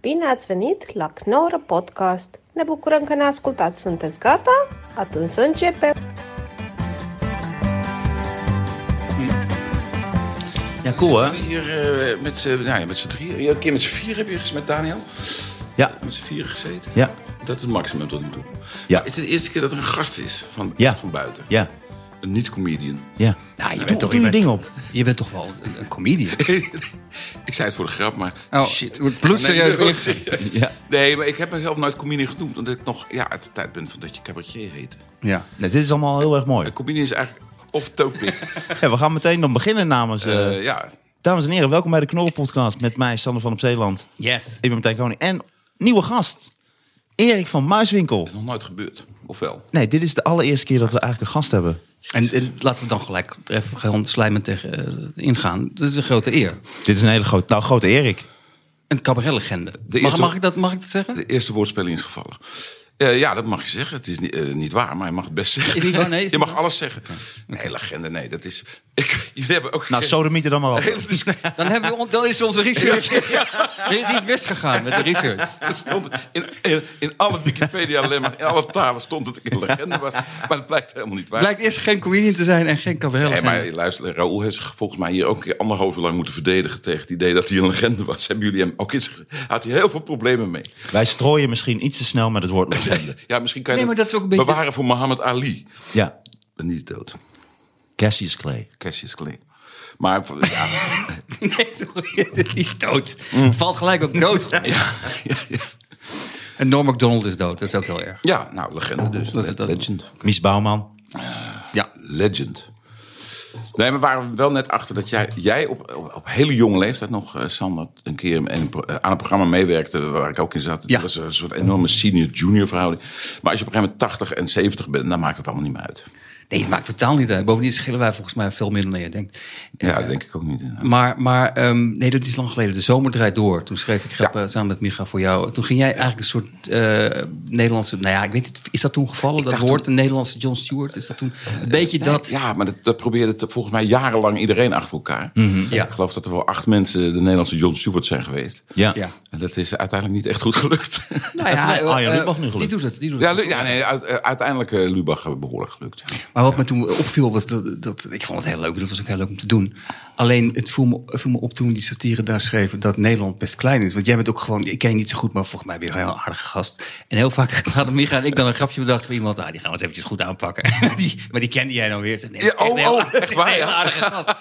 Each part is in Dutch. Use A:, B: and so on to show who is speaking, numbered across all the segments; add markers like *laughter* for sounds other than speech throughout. A: Bine ați venit la Knorr Podcast! Ne bucurăm că ne ascultați! Sunteți gata? Atunci să începem!
B: Ja, cool hè?
C: Hier eh, met, eh, nou ja, met z'n drieën. Ja, Een keer met z'n vier heb je gezeten met Daniel.
B: Ja,
C: Met z'n vier gezeten.
B: ja,
C: Dat is het maximum tot nu toe.
B: Ja.
C: Maar Is dit de eerste keer dat er een gast is van,
B: Ja.
C: van buiten?
B: ja,
C: Een niet-comedian.
B: ja.
D: Ja, je
B: Doe-
D: bent toch
B: doe je
D: je bent-
B: ding op.
D: Je bent toch wel een, een comedian?
C: Ik zei het voor de grap, maar
D: Oh,
C: shit.
D: het wordt bloedserieus
C: nee, *laughs* nee,
D: ingezet.
C: serieus.
B: Ja.
C: Nee, maar ik heb mezelf nooit comedian genoemd. Omdat ik nog ja, uit de tijd ben van dat je cabaretier heette.
D: *laughs* Ja.
B: Nee, dit is allemaal heel erg mooi.
C: Een comedian is eigenlijk off-topic.
B: *laughs* Ja, we gaan meteen dan beginnen namens... eh,
C: Eh, ja,
B: dames en heren, welkom bij de Knorren Podcast met mij, Sander van op Zeeland.
D: Yes.
B: Ik ben Martijn Koning. En nieuwe gast, Erik van Muiswinkel.
C: nog nooit gebeurd. Of wel?
B: Nee, dit is de allereerste keer dat we eigenlijk een gast hebben.
D: En, en laten we dan gelijk even gewoon slijmend tegen eh, ingaan. Dat is een grote eer.
B: Dit is een hele grote... Nou, grote Erik.
D: Een cabaretlegende.
C: De
D: Mag,
C: eerste-
D: mag, ik dat, mag ik dat zeggen?
C: De eerste woordspeling is gevallen. Eh, ja, dat mag je zeggen. Het is niet, eh, niet waar, maar je mag het best zeggen.
D: Is niet waar? Nee, is
C: je
D: niet
C: mag
D: waar?
C: alles zeggen. Nee, legende, nee. Dat is... Ik, jullie hebben ook...
B: Nou,
C: geen- Dus-
B: sodemiet er dan maar op.
C: *laughs* hele discussie.
D: Dan, hebben we, on- dan is onze *laughs* research. Er is iets misgegaan met de research.
C: Dat stond in, in, in alle Wikipedia alleen maar, in alle talen stond dat ik een legende was. Maar dat blijkt helemaal niet waar.
D: Blijkt eerst geen comedian te zijn en geen
C: Nee,
D: cabaretlegende.
C: maar luister, Raoul heeft zich volgens mij hier ook een keer anderhalf uur lang moeten verdedigen tegen het idee dat hij een legende was. Hebben jullie hem ook eens gezegd? Had hij heel veel problemen mee.
B: Wij strooien misschien iets te snel met het woord
D: *laughs*
B: legende.
C: Ja, misschien kan je
D: Nee, maar dat is ook een beetje-
C: bewaren voor Mohammed Ali.
B: Ja,
C: Maar niet dood.
B: Cassius Clay.
C: Cassius Clay. Maar
D: *laughs*
C: ja,
D: Nee, sorry. *laughs* Die is dood. Valt gelijk ook dood.
C: ja, ja, ja.
D: En Norm MacDonald is dood. Dat is ook heel erg.
C: Ja, nou, legende dus.
D: Dat is- dat-
C: Legend.
B: Mies Bouwman.
D: Ja.
C: Legend. Nee, maar we waren wel net achter dat jij, jij op, op, op hele jonge leeftijd nog, eh, Sander, een keer in een pro- eh, aan een programma meewerkte waar ik ook in zat.
D: Ja.
C: Dat was een soort enorme senior-junior verhouding. Maar als je op een gegeven moment 80 en 70 bent, dan maakt het allemaal niet meer uit.
D: Nee, het maakt totaal niet uit. Bovendien schillen wij volgens mij veel minder dan je denkt.
C: Ja, dat denk ik ook niet. inderdaad.
D: Maar, maar ehm, nee, dat is lang geleden. De zomer draait door. Toen schreef ik grappen samen met Micha voor jou. Toen ging jij eigenlijk een soort eh, Nederlandse... Nou ja, ik weet niet, is dat toen gevallen? dat
C: dacht
D: woord, een Nederlandse John Stewart? Is dat toen Eh, een beetje dat...
C: Ja, maar dat, dat probeerde te- volgens mij jarenlang iedereen achter elkaar.
D: Mhm, Ja.
C: Ik geloof dat er wel acht mensen de Nederlandse John Stewart zijn geweest.
B: Ja.
D: Ja.
C: En dat is uiteindelijk niet echt goed gelukt.
D: Nou
B: Dat is wel
D: eh,
B: Arjen
D: eh,
B: Lubach nu gelukt.
D: Die doet het, die doet
C: Ja,
D: het.
C: Lu- ja nee, uit- eh, uiteindelijk eh Lubach eh, behoorlijk gelukt.
D: Maar wat me toen opviel was dat, dat... Ik vond het heel leuk, dat was ook heel leuk om te doen. Alleen, het viel me, viel me op toen die satire daar schreven... dat Nederland best klein is. Want jij bent ook gewoon... Ik ken je niet zo goed, maar volgens mij ben je een heel aardige gast. En heel vaak *laughs* hadden Micha en ik dan een grapje bedacht voor iemand... Ah, die gaan we eens eventjes goed aanpakken. *laughs* die, maar die kende jij dan weer. Ik zeg, nee,
C: Ja,
D: dat is
C: oh,
D: een heel
C: oh,
D: aardige-
C: echt waar,
D: een heel
C: ja.
D: *laughs* aardige gast.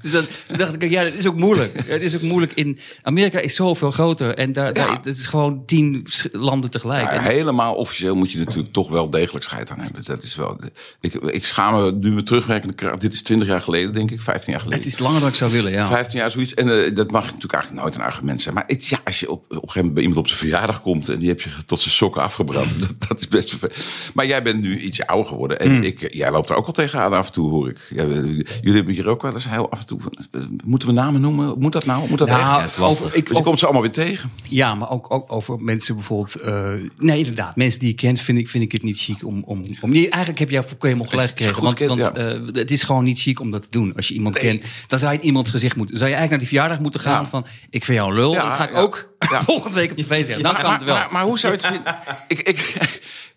D: Dus dan toen dacht ik, ja, dat is ook moeilijk. *laughs* Het is ook moeilijk in... Amerika is zoveel groter. En daar, daar-
C: Ja.
D: het is gewoon tien vers- landen tegelijk.
C: Maar
D: En-
C: helemaal officieel moet je natuurlijk toch wel degelijk scheid aan hebben. Dat is wel. Ik, ik schaam me nu met terugwerkende kracht. Dit is 20 jaar geleden, denk ik, 15 jaar geleden.
D: het is langer dan ik zou willen, ja.
C: 15 jaar zoiets. En eh, dat mag natuurlijk eigenlijk nooit een argument zijn. Maar het, ja, als je op, op een gegeven moment bij iemand op zijn verjaardag komt... en die heb je tot zijn sokken
D: *laughs*
C: afgebrand, dat, dat is best vervelend. Maar jij bent nu ietsje ouder geworden.
D: Mm.
C: En ik, eh, jij loopt er ook al tegenaan af en toe, hoor ik. Jij, eh, jullie hebben hier ook wel eens heel af en toe... van, eh, moeten we namen noemen? Moet dat nou? Moet dat
D: Nou,
C: echt?
D: Ja, dat is lastig.
C: Want
D: over- ik-
C: je
D: over-
C: komt ze allemaal weer tegen.
D: Ja, maar ook, ook over mensen bijvoorbeeld. eh, nee, inderdaad. Mensen die je kent, vind ik, vind ik het niet chic om. om, om nee, eigenlijk heb jij voor helemaal gelijk
C: Als je het
D: gekregen.
C: goed
D: Want,
C: kent,
D: want eh, het is gewoon niet chic om dat te doen. Als je iemand kent, dan zou je in iemands gezicht moeten. Zou je eigenlijk naar die verjaardag moeten gaan
C: Ja.
D: van. Ik vind jou een lul.
C: Ja,
D: dat ga ik
C: ja.
D: ook
C: Ja.
D: *laughs* volgende week op tv zeggen.
C: maar,
D: Dan kan
C: maar-
D: het wel.
C: Maar, maar hoe zou je
D: *laughs*
C: het vinden? ik, ik,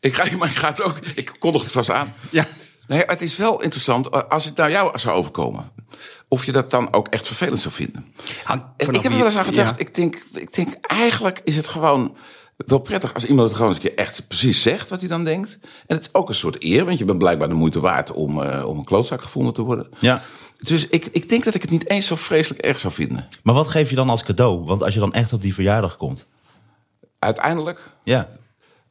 C: ik, ga, maar ik ga het ook. Ik kondig het vast aan.
D: Ja.
C: Nee, het is wel interessant eh, als het naar jou zou overkomen. Of je dat dan ook echt vervelend zou vinden.
D: Hangt
C: En
D: vanaf
C: ik heb er
D: wie
C: wel eens aan
D: je-
C: gedacht.
D: ja.
C: Ik, denk, ik denk, eigenlijk is het gewoon wel prettig als iemand het gewoon eens een keer echt precies zegt wat hij dan denkt. En het is ook een soort eer, want je bent blijkbaar de moeite waard om, eh, om een klootzak gevonden te worden.
B: Ja.
C: Dus ik, ik denk dat ik het niet eens zo vreselijk erg zou vinden.
B: Maar wat geef je dan als cadeau? Want als je dan echt op die verjaardag komt.
C: Uiteindelijk.
B: Ja.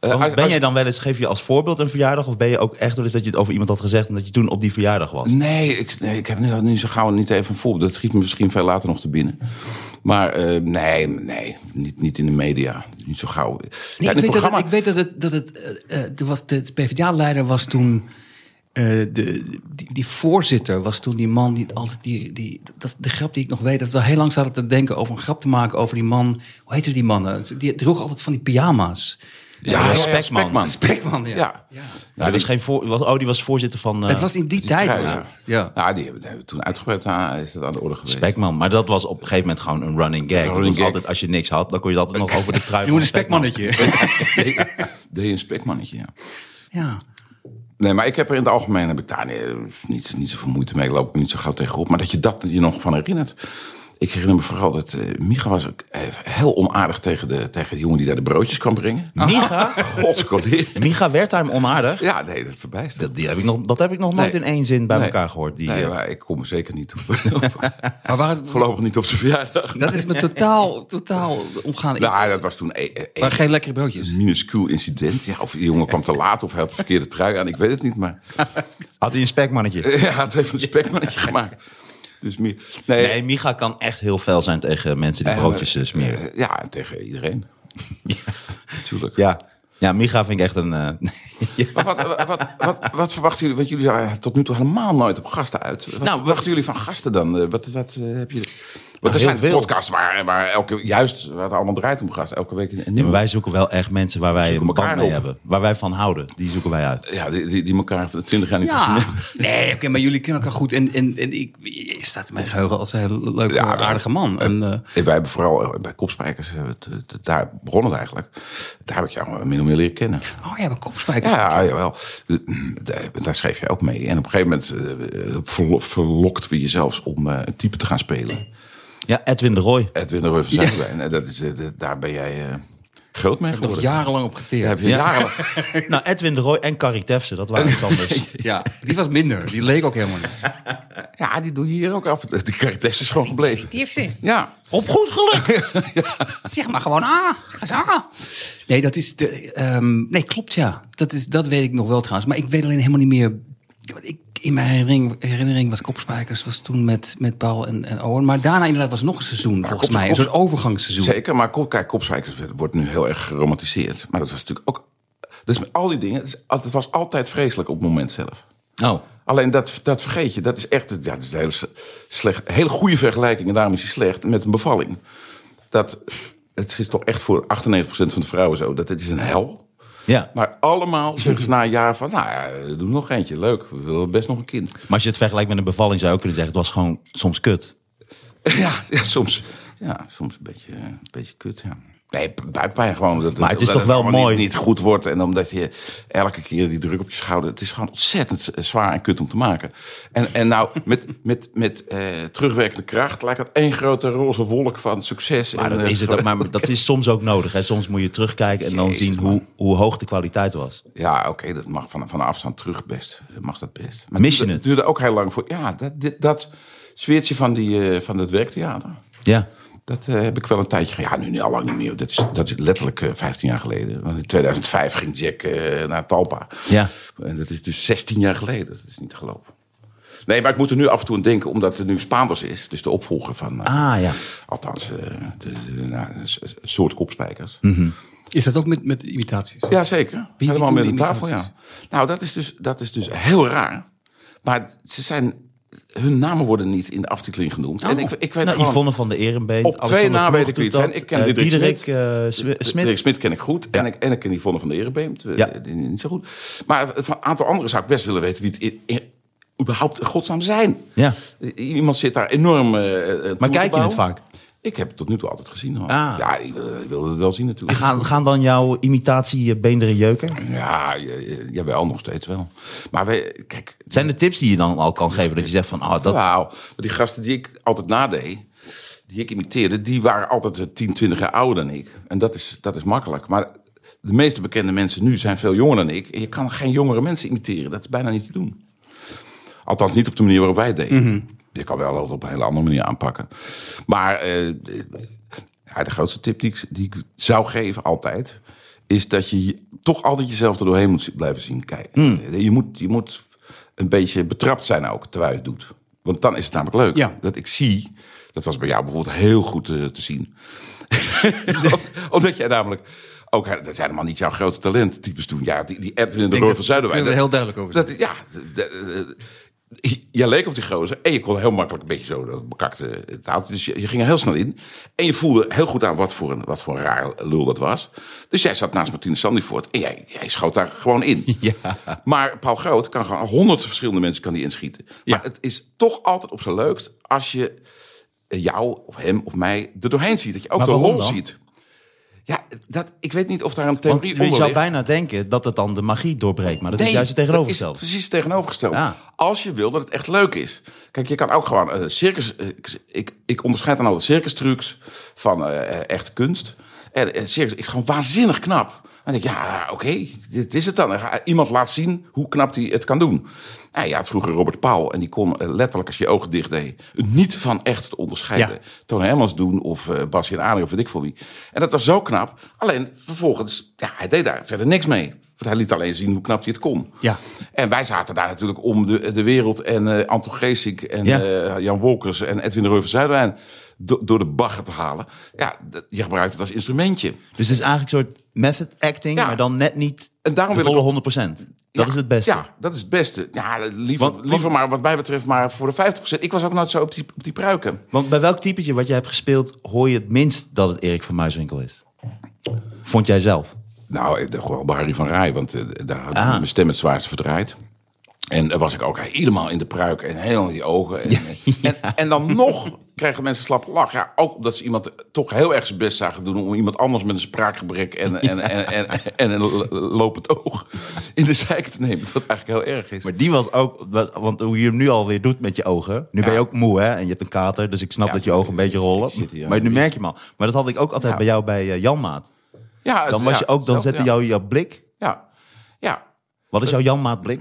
C: eh,
B: Want
C: als-
B: ben
C: als-
B: jij dan wel eens, geef je als voorbeeld een verjaardag? Of ben je ook echt wel eens dat je het over iemand had gezegd en dat je toen op die verjaardag was?
C: Nee, ik, nee, ik heb nu, nu zo gauw niet even een voorbeeld. Dat schiet me misschien veel later nog te binnen. Maar eh, nee, nee niet, niet in de media. Niet zo gauw.
D: Nee,
C: ja, in
D: ik,
C: het
D: weet dat
C: programma...
D: het, ik weet dat het. Dat het eh, eh, er was, de PvdA-leider was toen. eh, de, die, die voorzitter was toen die man die het altijd. Die, die, dat, de grap die ik nog weet, dat we heel lang zaten te denken over een grap te maken over die man. Hoe heette die man? eh, Die droeg altijd van die pyjama's. *laughs*
C: Ja,
B: Spekman.
C: Spekman.
D: Spekman, ja.
C: Ja.
B: Nou, dat is geen voor, was, oh, die was voorzitter van eh,
D: Het was in die, tijd.
C: trui,
D: was
C: ja.
D: het. Ja.
C: Ja, die hebben, die hebben we toen uitgebreid aan, is dat aan de orde geweest. *laughs*
B: Spekman. Maar dat was op een gegeven moment gewoon een running gag.
C: running
B: dat was
C: gag.
B: altijd, als je niks had, dan kon je het altijd nog over de
C: *laughs*
B: trui
D: Je
B: van
D: moet een spekmannetje.
C: Deed je een spekmannetje, ja.
D: Ja.
C: Nee, maar ik heb er in het algemeen heb ik daar nee, niet, niet zoveel moeite mee. Loop ik niet zo gauw tegenop. Maar dat je dat je nog van herinnert. Ik herinner me vooral dat eh Micha was ook eh, heel onaardig tegen de, tegen de jongen die daar de broodjes kwam brengen. *laughs*
B: Micha?
C: Gods collega.
B: Micha Wertheim onaardig.
C: Ja, nee, dat verbijst me.
B: Dat, die heb ik nog, dat heb ik nog nooit
C: Nee.
B: in één zin bij
C: Nee.
B: elkaar gehoord. Die,
C: Nee,
B: eh,
C: maar ik kom er zeker niet op. *laughs*
D: Maar waar,
C: Voorlopig niet op zijn verjaardag.
D: dat is me totaal, totaal ontgaan. Ik-
C: Nou, dat was toen e- e-
D: maar
C: echt
D: geen lekkere broodjes.
C: een minuscuul incident. Ja, of die jongen kwam te laat of hij had de verkeerde trui aan. Ik weet het niet,
B: *laughs*
C: maar
B: Had hij een spekmannetje?
C: hij had even een spekmannetje gemaakt. Dus meer... Nee,
B: Nee, Micha kan echt heel fel zijn tegen mensen die
C: Eh,
B: broodjes eh,
C: maar,
B: smeren.
C: eh, ja, en tegen iedereen. Natuurlijk.
B: *laughs* Ja. ja, Micha vind ik echt een... eh, ja.
C: Maar wat, wat, wat, wat, wat verwachten jullie? Want jullie zijn tot nu toe helemaal nooit op gasten uit. Wat
B: Nou,
C: verwachten jullie van gasten dan? Eh, Wat, wat eh, heb je... Want
B: heel
C: er zijn
B: veel.
C: podcasts waar, waar elke, juist waar het allemaal draait om gasten. Elke week een
B: Nee, maar
C: nieuwe.
B: wij zoeken wel echt mensen waar wij een
C: Zoeken
B: band
C: elkaar
B: mee
C: op.
B: hebben. Waar wij van houden. Die zoeken wij uit.
C: Ja, die, die, die elkaar twintig jaar niet gezien
D: Ja,
C: hebben.
D: nee, oké, maar jullie kennen elkaar goed. En, en, en ik, je staat in mijn geheugen als een heel leuke,
C: Ja, maar-
D: aardige man. En, eh,
C: En wij hebben vooral eh, bij Kopspijkers, eh, het- het- daar begon het eigenlijk. Daar heb ik jou min of meer leren kennen.
D: oh ja, mijn kopspijker.
C: Ja, ah, jawel. Daar, daar schreef je ook mee. En op een gegeven moment eh, verlo- verlokten we jezelf om eh, een type te gaan spelen.
B: Ja, Edwin de
C: *laughs*
B: Roy.
C: Edwin de Reu van Zuidwijn. En dat is, eh, dat- daar ben jij eh, groot mee
D: Nog
C: geworden.
D: jarenlang op
C: Daar
D: geteerd.
C: heb je jarenlang-
B: Nou, Edwin de Roy en Carrie Tefse, dat waren iets
C: *laughs*
B: anders.
D: Ja, die was minder. Die leek ook helemaal niet.
C: Ja, die doe je hier ook af. De karitest is gewoon gebleven.
D: Die heeft zin.
C: Ja.
B: Op goed geluk!
D: Zeg maar gewoon ah. Zeg eens ah. Nee, dat is de, ehm, nee, klopt ja. Dat, is, dat weet ik nog wel trouwens. Maar ik weet alleen helemaal niet meer. want Ik, in mijn herinnering, herinnering was Kopspijkers was toen met, met Paul en, en Owen. Maar daarna inderdaad was nog een seizoen volgens
C: Kop-
D: mij. Een
C: Kop-
D: soort overgangsseizoen.
C: Zeker, maar Kop- kijk, Kopspijkers wordt nu heel erg geromantiseerd. Maar dat was natuurlijk ook... Dus met al die dingen, het is al- het was altijd vreselijk op het moment zelf.
B: Oh,
C: Alleen dat, dat vergeet je. Dat is echt ja, dat is een hele, s- slecht, hele goede vergelijking. En daarom is hij slecht met een bevalling. Dat, het is toch echt voor 98% van de vrouwen zo. Dat het is een hel.
B: ja. Maar
C: Maar allemaal zeggen ze na een jaar van... Nou ja, doe nog eentje. Leuk. We willen best nog een kind.
B: als je het vergelijkt met een bevalling zou je ook kunnen zeggen... het was gewoon soms kut.
C: *laughs* Ja, ja soms. Ja, soms een beetje, eh, een beetje kut, ja. Nee, bu- buikpijn gewoon. Dat,
B: Maar het is
C: dat
B: toch wel
C: allemaal
B: mooi.
C: Niet, niet goed wordt en omdat je elke keer die druk op je schouder... Het is gewoon ontzettend eh, zwaar en kut om te maken. En, en nou, *laughs* met, met, met eh, terugwerkende kracht lijkt dat één grote roze wolk van succes.
B: Maar
C: en,
B: dat
C: eh,
B: is, het, ook, maar dat is soms ook nodig. Hè. Soms moet je terugkijken en dan
C: Jezus,
B: zien
C: man.
B: hoe, hoe hoog de kwaliteit was.
C: Ja, oké, dat mag van, van de afstand terug best. Dat Mag dat best. Maar
B: Mis je
C: duurde-
B: het?
C: duurde ook heel lang voor... Ja, dat, dit- dat zweertje van, die, eh, van het werktheater...
B: Ja.
C: Dat eh, heb ik wel een tijdje gedaan. Ja, nu niet, al lang niet meer. Dat is, dat is letterlijk eh, 15 jaar geleden. Want in 2005 ging Jack eh, naar Talpa.
B: Ja.
C: En dat is dus 16 jaar geleden. Dat is niet te geloven. Nee, maar ik moet er nu af en toe aan denken, omdat er nu Spaanders is. Dus de opvolger van, eh,
B: Ah, ja.
C: althans, eh, de, de- nou, een s- een soort kopspijkers.
D: Is dat ook met, met imitaties?
C: Ja, zeker.
D: Mhm. wie
C: Helemaal
D: doen
C: met
D: de
C: een tafel, ja. Nou, dat is, dus, dat is dus heel raar. Maar ze zijn, hun namen worden niet in de aftiteling genoemd.
D: Oh.
C: En ik, ik weet
B: Nou,
C: gewoon...
B: Yvonne van de Erenbeen.
C: Op twee
B: Alexander
C: na
B: Ploeg
C: weet ik
B: doet
C: wie het zijn.
B: dat.
C: Ik ken
B: Eh,
C: Diederik
B: Diederik
C: Smit.
B: eh, Swi- Smit.
C: Dirk Smit ken ik goed. En, ik, en ik ken Yvonne van de Erebeem. eh,
B: Ja.
C: die Niet zo goed. Maar van een aantal anderen zou ik best willen weten wie het in, in- überhaupt in godsnaam zijn.
B: Ja.
C: I- Iemand zit daar enorm. eh, eh, toe te
B: kijk je het
C: bouwen.
B: vaak?
C: Ik heb het tot nu toe altijd gezien. hoor.
B: Ah.
C: Ja, ik wil- ik wilde het wel zien natuurlijk.
B: Gaan, gaan dan jouw imitatie eh, beenderen jeuken?
C: Ja, j- j- jawel, nog steeds wel. Maar wij, kijk,
B: Zijn er tips die je dan al kan geven? Dat je zegt van, ah, dat,
C: Wauw. Maar Die gasten die ik altijd nadeed, die ik imiteerde, die waren altijd eh, 10, 20 jaar ouder dan ik. En dat is, dat is makkelijk. Maar de meeste bekende mensen nu zijn veel jonger dan ik. En je kan geen jongere mensen imiteren. Dat is bijna niet te doen. Althans, niet op de manier waarop wij het deden.
D: Mhm.
C: Je kan wel altijd op een hele andere manier aanpakken. Maar eh, eh, ja, de grootste tip die ik, die ik zou geven, altijd, is dat je je- toch altijd jezelf er doorheen moet blijven zien kijken.
D: Mhm.
C: Eh, Je, moet, je moet een beetje betrapt zijn ook terwijl je het doet. Want dan is het namelijk leuk.
D: Ja.
C: Dat ik zie, dat was bij jou bijvoorbeeld heel goed eh, te zien. *laughs* Om- Omdat jij namelijk ook, dat zijn helemaal niet jouw grote talenttypes toen. Ja, die, die Edwin de
D: denk
C: Roy
D: dat-
C: van Zuiderwijk.
D: ik wil er heel duidelijk over
C: dat- ja, d- d- d- Jij leek op die gozer en je kon heel makkelijk een beetje zo dat bekakte taal. Dus je, je ging er heel snel in. En je voelde heel goed aan wat voor een, wat voor een raar lul dat was. Dus jij zat naast Martine Sandifort en jij, jij schoot daar gewoon
B: *laughs*
C: in. Maar Paul Groot kan gewoon honderd verschillende mensen kan die inschieten. Maar
D: Ja.
C: het is toch altijd op zijn leukst als je eh, jou of hem of mij er doorheen ziet. Dat je ook
B: Maar
C: de
B: waarom
C: lol
B: dan?
C: ziet. Ja, dat, ik weet niet of daar een
B: Want
C: theorie
B: je
C: onder
B: zou
C: ligt.
B: bijna denken dat het dan de magie doorbreekt. Maar dat is
C: Nee,
B: juist het tegenovergestelde.
C: dat is precies het tegenovergestelde.
B: Ja.
C: Als je wil dat het echt leuk is. Kijk, je kan ook gewoon eh, circus. eh, ik- ik, ik onderscheid dan al de circus trucs van eh, eh, echte kunst. En eh, circus is gewoon waanzinnig knap. En dan denk ik, ja, oké, dit is het dan. En ga- Iemand laat zien hoe knap hij het kan doen. Nou ja, het vroeger Robert Paul. En die kon eh, letterlijk, als je je ogen dicht deed, het niet van echt te onderscheiden.
D: Ja.
C: Toon Hermans doen of eh Basje en Adrie of weet ik voor wie. En dat was zo knap. Alleen vervolgens, ja, hij deed daar verder niks mee. Want hij liet alleen zien hoe knap hij het kon.
D: Ja.
C: En wij zaten daar natuurlijk om de, de wereld en eh Anton Geesink en
B: Ja.
C: eh, Jan Wolkers en Edwin de Reu van Zuiderwijn do- door de bagger te halen. Ja, dat- je gebruikt het als instrumentje.
B: Dus het is eigenlijk een soort method acting,
C: Ja.
B: maar dan net niet
C: En daarom
B: de
C: wil ik
B: volle
C: ook-
B: 100%. Dat
C: Ja,
B: is het beste.
C: Ja, dat is het beste. Ja, liever,
B: Want- want-
C: liever maar wat mij betreft maar voor de 50%. Ik was ook nooit zo op die, op die pruiken.
B: Want bij welk typetje wat jij hebt gespeeld, hoor je het minst dat het Erik van Muiswinkel is? Vond jij zelf?
C: Nou, ik dacht gewoon bij Harry van Rij, want eh, daar had ik
B: Ah.
C: mijn stem het zwaarst verdraaid. En daar was ik ook helemaal in de pruik en helemaal in die ogen. En, eh, en,
B: *laughs*
C: en dan nog kregen mensen slappe lach. Ja, ook omdat ze iemand toch heel erg zijn best zagen doen... om iemand anders met een spraakgebrek en, en, en, en, en een l- lopend oog in de zeik te nemen. Wat eigenlijk heel erg is.
B: Maar die was ook, was- want hoe je hem nu alweer doet met je ogen. Nu ben je ook moe hè, en je hebt een kater, dus ik snap dat je ogen een beetje rollen.
C: zit hier aan
B: maar
C: de
B: nu merk je hem al. Maar dat had ik ook altijd
C: Ja.
B: bij jou bij eh, Janmaat.
C: ja, het-
B: Dan, was
C: ja,
B: je ook, dan
C: zelf-
B: zette
C: ja,
B: jou jouw blik.
C: Ja, ja.
B: Wat is jouw Janmaat blik?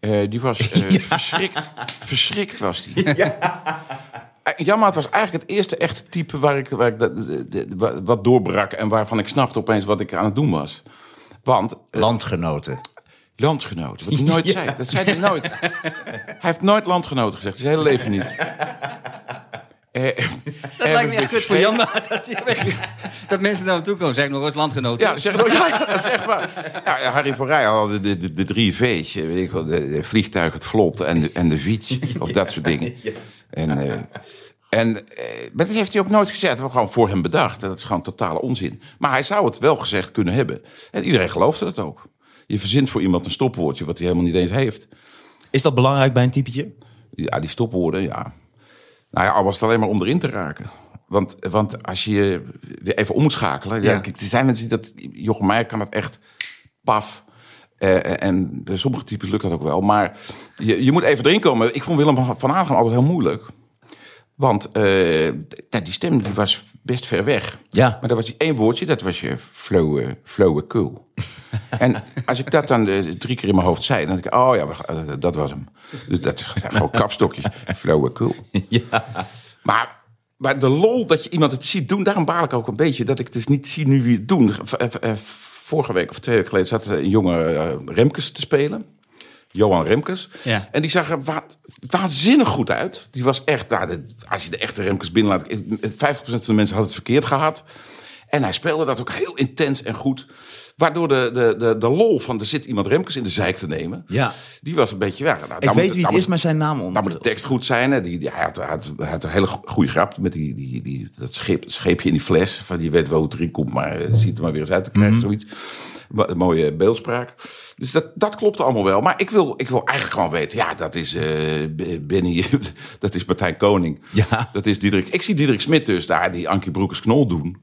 C: Eh, die was eh, verschrikt. Verschrikt was die. Ja. Jammaat was eigenlijk het eerste echte type waar ik, waar ik dat- de- de- wa- wat doorbrak en waarvan ik snapte opeens wat ik aan het doen was. Want eh,
B: Landgenoten.
C: landgenoten, wat hij nooit zei, dat zei hij nooit. hij heeft nooit landgenoten gezegd, zijn hele leven niet. Eh,
D: Dat lijkt me echt kut voor Jan. *laughs* Dat, dat mensen naar hem toe komen. Zeg nog eens landgenoten.
C: Ja, zeg nou, *laughs* ja, dat is echt waar. Ja, Harry van Rij had de, de, de drie V's, eh, weet ik wel, de, de vliegtuig, het vlot en de, en de fiets, of dat soort dingen. En, eh, en eh, maar dat heeft hij ook nooit gezegd. We hebben gewoon voor hem bedacht. En dat is gewoon totale onzin. Maar hij zou het wel gezegd kunnen hebben. En iedereen geloofde dat ook. Je verzint voor iemand een stopwoordje wat hij helemaal niet eens heeft.
B: Is dat belangrijk bij een typetje?
C: Ja, die stopwoorden, ja. Nou ja, al was het alleen maar om erin te raken. Want, want als je je weer even om moet schakelen... Ja.
D: Ja.
C: kijk, er zijn mensen die dat... Jochem Meijer kan dat echt paf. Eh, en bij sommige types lukt dat ook wel. Maar je, je moet even erin komen. Ik vond Willem van- van Aangaan altijd heel moeilijk. Want eh, nou, die stem die was best ver weg.
B: Ja.
C: Maar dat was die één woordje, dat was je flowe, flowe cool. en als ik dat dan eh, drie keer in mijn hoofd zei, dan denk ik, oh ja, we gaan- eh, dat was hem. Dus dat zijn gewoon kapstokjes, flowe cool. Maar, maar de lol dat je iemand het ziet doen, daarom baal ik ook een beetje dat ik dus niet zie nu wie het doen. V- eh, v- eh, Vorige week of twee weken geleden zat er een jonge eh, Remkes te spelen. Johan Remkes.
D: Ja.
C: En die zag er wa- waanzinnig goed uit. Die was echt, nou, dit- als je de echte Remkes binnenlaat, eh, 50% van de mensen had het verkeerd gehad. En hij speelde dat ook heel intens en goed. Waardoor de, de, de, de lol van er zit iemand Remkes in de zeik te nemen.
B: Ja.
C: Die was een beetje weg. Nou, dan
B: Ik
C: moet-
B: weet wie
C: dan
B: het
C: moet-
B: is, maar zijn naam
C: nou moet de
B: onder.
C: tekst goed zijn. Hè? Die, die, hij had, hij had, hij had een hele go- goede grap met die, die, die, dat scheep, scheepje in die fles. Van, je weet wel hoe het erin komt, maar eh, ziet er maar weer eens uit te krijgen.
B: Mhm.
C: Zoiets. Wa- een mooie beeldspraak. Dus dat, dat klopte allemaal wel. Maar ik wil, ik wil eigenlijk gewoon weten. Ja, dat is eh, B- Benny. *laughs* dat is Martijn Koning.
B: Ja.
C: Dat is Diederik. Ik zie Diederik Smit dus daar die Ankie Broekers-Knol doen.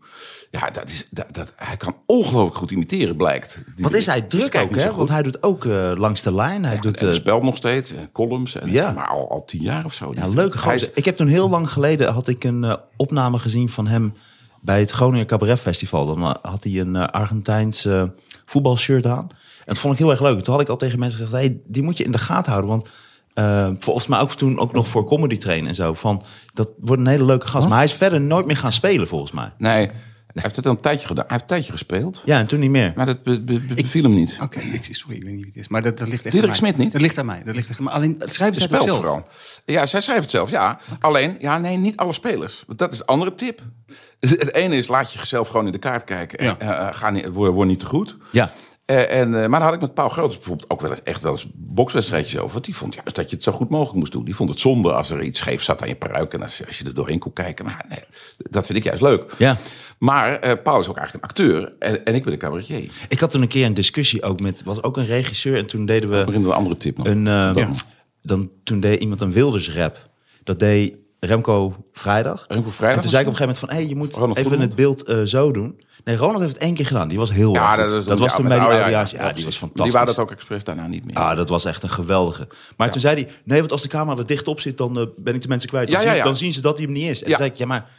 C: Ja, dat is, dat, dat, hij kan ongelooflijk goed imiteren, blijkt.
B: Wat
C: Diederik.
B: is hij
C: Dus
B: druk
C: kijk
B: ook,
C: niet zo
B: hè?
C: goed.
B: Want hij doet ook eh, langs de lijn. Hij doet
C: En
B: eh,
C: hij speelt nog steeds, en columns, en,
B: Ja.
C: maar al, al tien jaar of zo.
B: Ja, leuke
C: Hij is-
B: gozer. Ik heb toen heel lang geleden had ik een eh, opname gezien van hem bij het Groningen Cabaret Festival. Dan eh, had hij een eh, Argentijns eh, voetbalshirt aan. En dat vond ik heel erg leuk. Toen had ik al tegen mensen gezegd, hey, die moet je in de gaten houden. Want eh, volgens mij ook toen ook nog voor Comedy Train en zo. Van, dat wordt een hele leuke gast. Maar hij is verder nooit meer gaan spelen volgens mij.
C: Nee, hij heeft het al een tijdje gedaan. Hij heeft een tijdje gespeeld,
B: Ja, en toen niet meer.
C: maar dat be- be- be- beviel hem
B: Oh,
C: niet.
D: Oké, ik- sorry, ik weet niet wie het is. Maar dat, dat ligt echt
C: Diederik
D: aan mij.
C: Smit niet?
D: Dat ligt aan mij. Dat ligt echt aan mij. Alleen schrijf
C: Hij
D: het zelf.
C: speelt vooral. Ja, zij schrijft het zelf, ja. Alleen, ja, nee, niet alle spelers. Want Dat is een andere tip. Het ene is, laat je jezelf gewoon in de kaart kijken. En,
D: Ja.
C: eh, ga niet, word, word niet te goed.
B: Ja.
C: Eh, Eh, en, eh, maar daar had ik met Paul Groot bijvoorbeeld ook wel eens, echt wel eens bokswedstrijdjes over. Want die vond juist dat je het zo goed mogelijk moest doen. Die vond het zonde als er iets scheef zat aan je peruik. En als, je- als je er doorheen kon kijken. Maar nee, dat vind ik juist leuk.
B: Ja.
C: Maar eh, Paul is ook eigenlijk een acteur. En, en ik ben een cabaretier.
B: Ik had toen een keer een discussie ook met, was ook een regisseur en toen deden we
C: Dan beginnen we een andere tip. man.
B: een, eh, dan, toen deed iemand een Wilders rap. Dat deed Remco Vrijdag.
C: Remco Vrijdag
B: En toen zei ik op een gegeven moment van, hé, je moet
C: Ronald
B: even
C: Goedemond.
B: het beeld eh, zo doen. Nee, Ronald heeft het één keer gedaan. Die was heel erg goed.
C: is-
B: was
C: ja,
B: toen bij
C: met
B: die
C: oude-
B: oudejaars. Ja, die
C: precies.
B: was
C: Die
B: fantastisch.
C: waren dat ook expres daarna niet meer.
B: Ah, dat was echt een geweldige. Maar toen zei hij, nee, want als de camera er dicht op zit, dan eh, ben ik de mensen kwijt. Dan,
C: Ja, ja,
B: zien-
C: ja.
B: dan zien ze dat hij hem niet is. En
C: Ja.
B: toen zei ik, ja, maar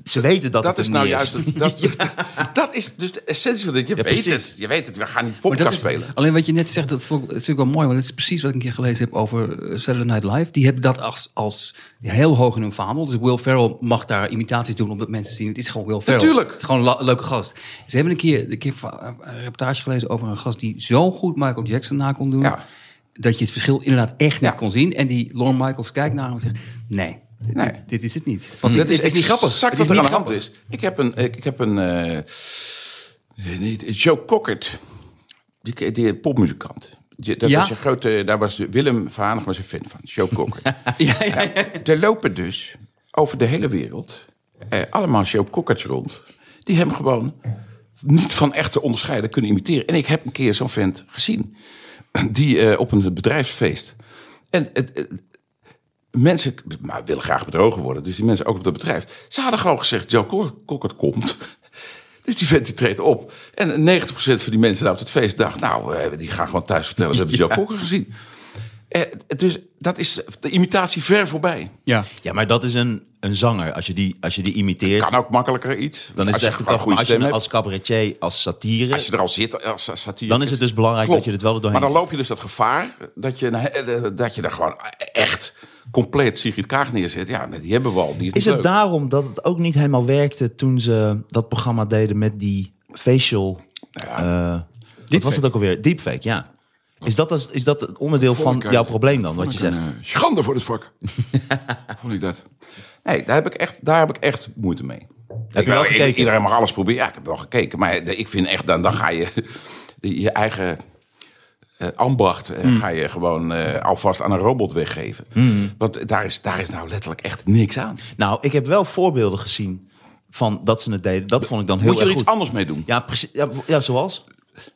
B: d- ze weten dat,
C: dat
B: het
C: is
B: hem
C: nou
B: niet
C: juist.
B: is. *laughs*
C: het- Dat, dat is dus de essentie van dit. Je
B: Ja,
C: weet
B: precies.
C: het. Je weet het. We gaan niet
D: Maar dat
C: podcast
D: is-
C: spelen.
D: Alleen wat je net zegt, dat vond ik, vind ik wel mooi. Want dat is precies wat ik een keer gelezen heb over eh, Saturday Night Live. Die hebben dat als, als heel hoog in hun vaandel. Dus Will Ferrell mag daar imitaties doen omdat mensen zien... het is gewoon Will Ferrell.
C: Natuurlijk.
D: Het is gewoon een la- leuke gast. Ze hebben een keer, een keer va- een reportage gelezen over een gast... die zo goed Michael Jackson na kon doen...
C: Ja.
D: dat je het verschil inderdaad echt niet
C: Ja.
D: kon zien. En die Lorne Michaels kijkt naar hem en zegt... nee, dit,
C: Nee. Mm.
D: dit is het niet. Want
C: Dat
D: dit, dit is niet grappig.
C: Exact
D: Het
C: wat
D: is
C: er aan
D: niet
C: de hand
D: grappig.
C: is. Ik heb een. Ik ik heb een eh, niet- Joe Cockert. Die, ke- die popmuzikant. Die- dat
D: Ja.
C: was een grote, daar was Willem van Hanegem was een fan van. Joe
B: *laughs*
C: Cockert.
D: Ja, *laughs* ja, ja.
C: er lopen dus over de hele wereld eh, allemaal Joe Cockerts rond. Die hem gewoon niet van echt te onderscheiden kunnen imiteren. En ik heb een keer zo'n vent gezien. Die eh, op een bedrijfsfeest. En het, het- mensen maar willen graag bedrogen worden. Dus die mensen ook op dat bedrijf. Ze hadden gewoon gezegd, Joe Cock- Cockert komt. *laughs* Dus die vent die treedt op. En 90% van die mensen daar op het feest dacht... nou, eh, die gaan gewoon thuis vertellen, ze hebben Joe Cocker gezien. Eh, dus dat is de imitatie ver voorbij.
D: ja.
B: Ja, maar dat is een, een zanger. Als je die, als je die imiteert,
C: Kan ook makkelijker iets.
B: dan is
C: Als
B: het
C: je
B: echt een
C: gewoon
B: kaf. Maar als je
C: stem
B: een-
C: hebt,
B: als cabaretier, als satire...
C: als je er al zit als satire.
B: Dan is het dus belangrijk
C: Klopt.
B: dat je het wel er doorheen
C: Maar dan loop je dus dat gevaar dat je, eh, dat je er gewoon echt compleet Sigrid Kaag neerzet. Ja, die hebben we al. Die is
B: Is
C: niet
B: het
C: leuk.
B: daarom dat het ook niet helemaal werkte toen ze dat programma deden met die facial... eh, wat was het ook alweer? Deepfake, ja. Is dat, als- is dat het onderdeel van
C: Vond ik, eh,
B: jouw probleem dan,
C: vond
B: wat je
C: ik
B: zegt?
C: een, eh, schande voor het
B: *laughs*
C: vak. vond ik dat. Nee, daar heb ik echt, daar heb ik echt moeite mee.
B: Heb
C: Ik
B: je wel
C: wil- i-
B: gekeken?
C: Iedereen mag alles proberen. Ja, ik heb wel gekeken. Maar de- ik vind echt, dan, dan ga je *laughs* je eigen eh, ambacht... eh,
B: Hmm.
C: ga je gewoon eh, alvast aan een robot weggeven. Want daar is, daar is nou letterlijk echt niks aan.
B: Nou, ik heb wel voorbeelden gezien van dat ze het deden. Dat vond ik dan heel
C: Moet je er
B: erg
C: iets
B: goed.
C: anders mee doen?
B: Ja, precies. Ja, ja, zoals?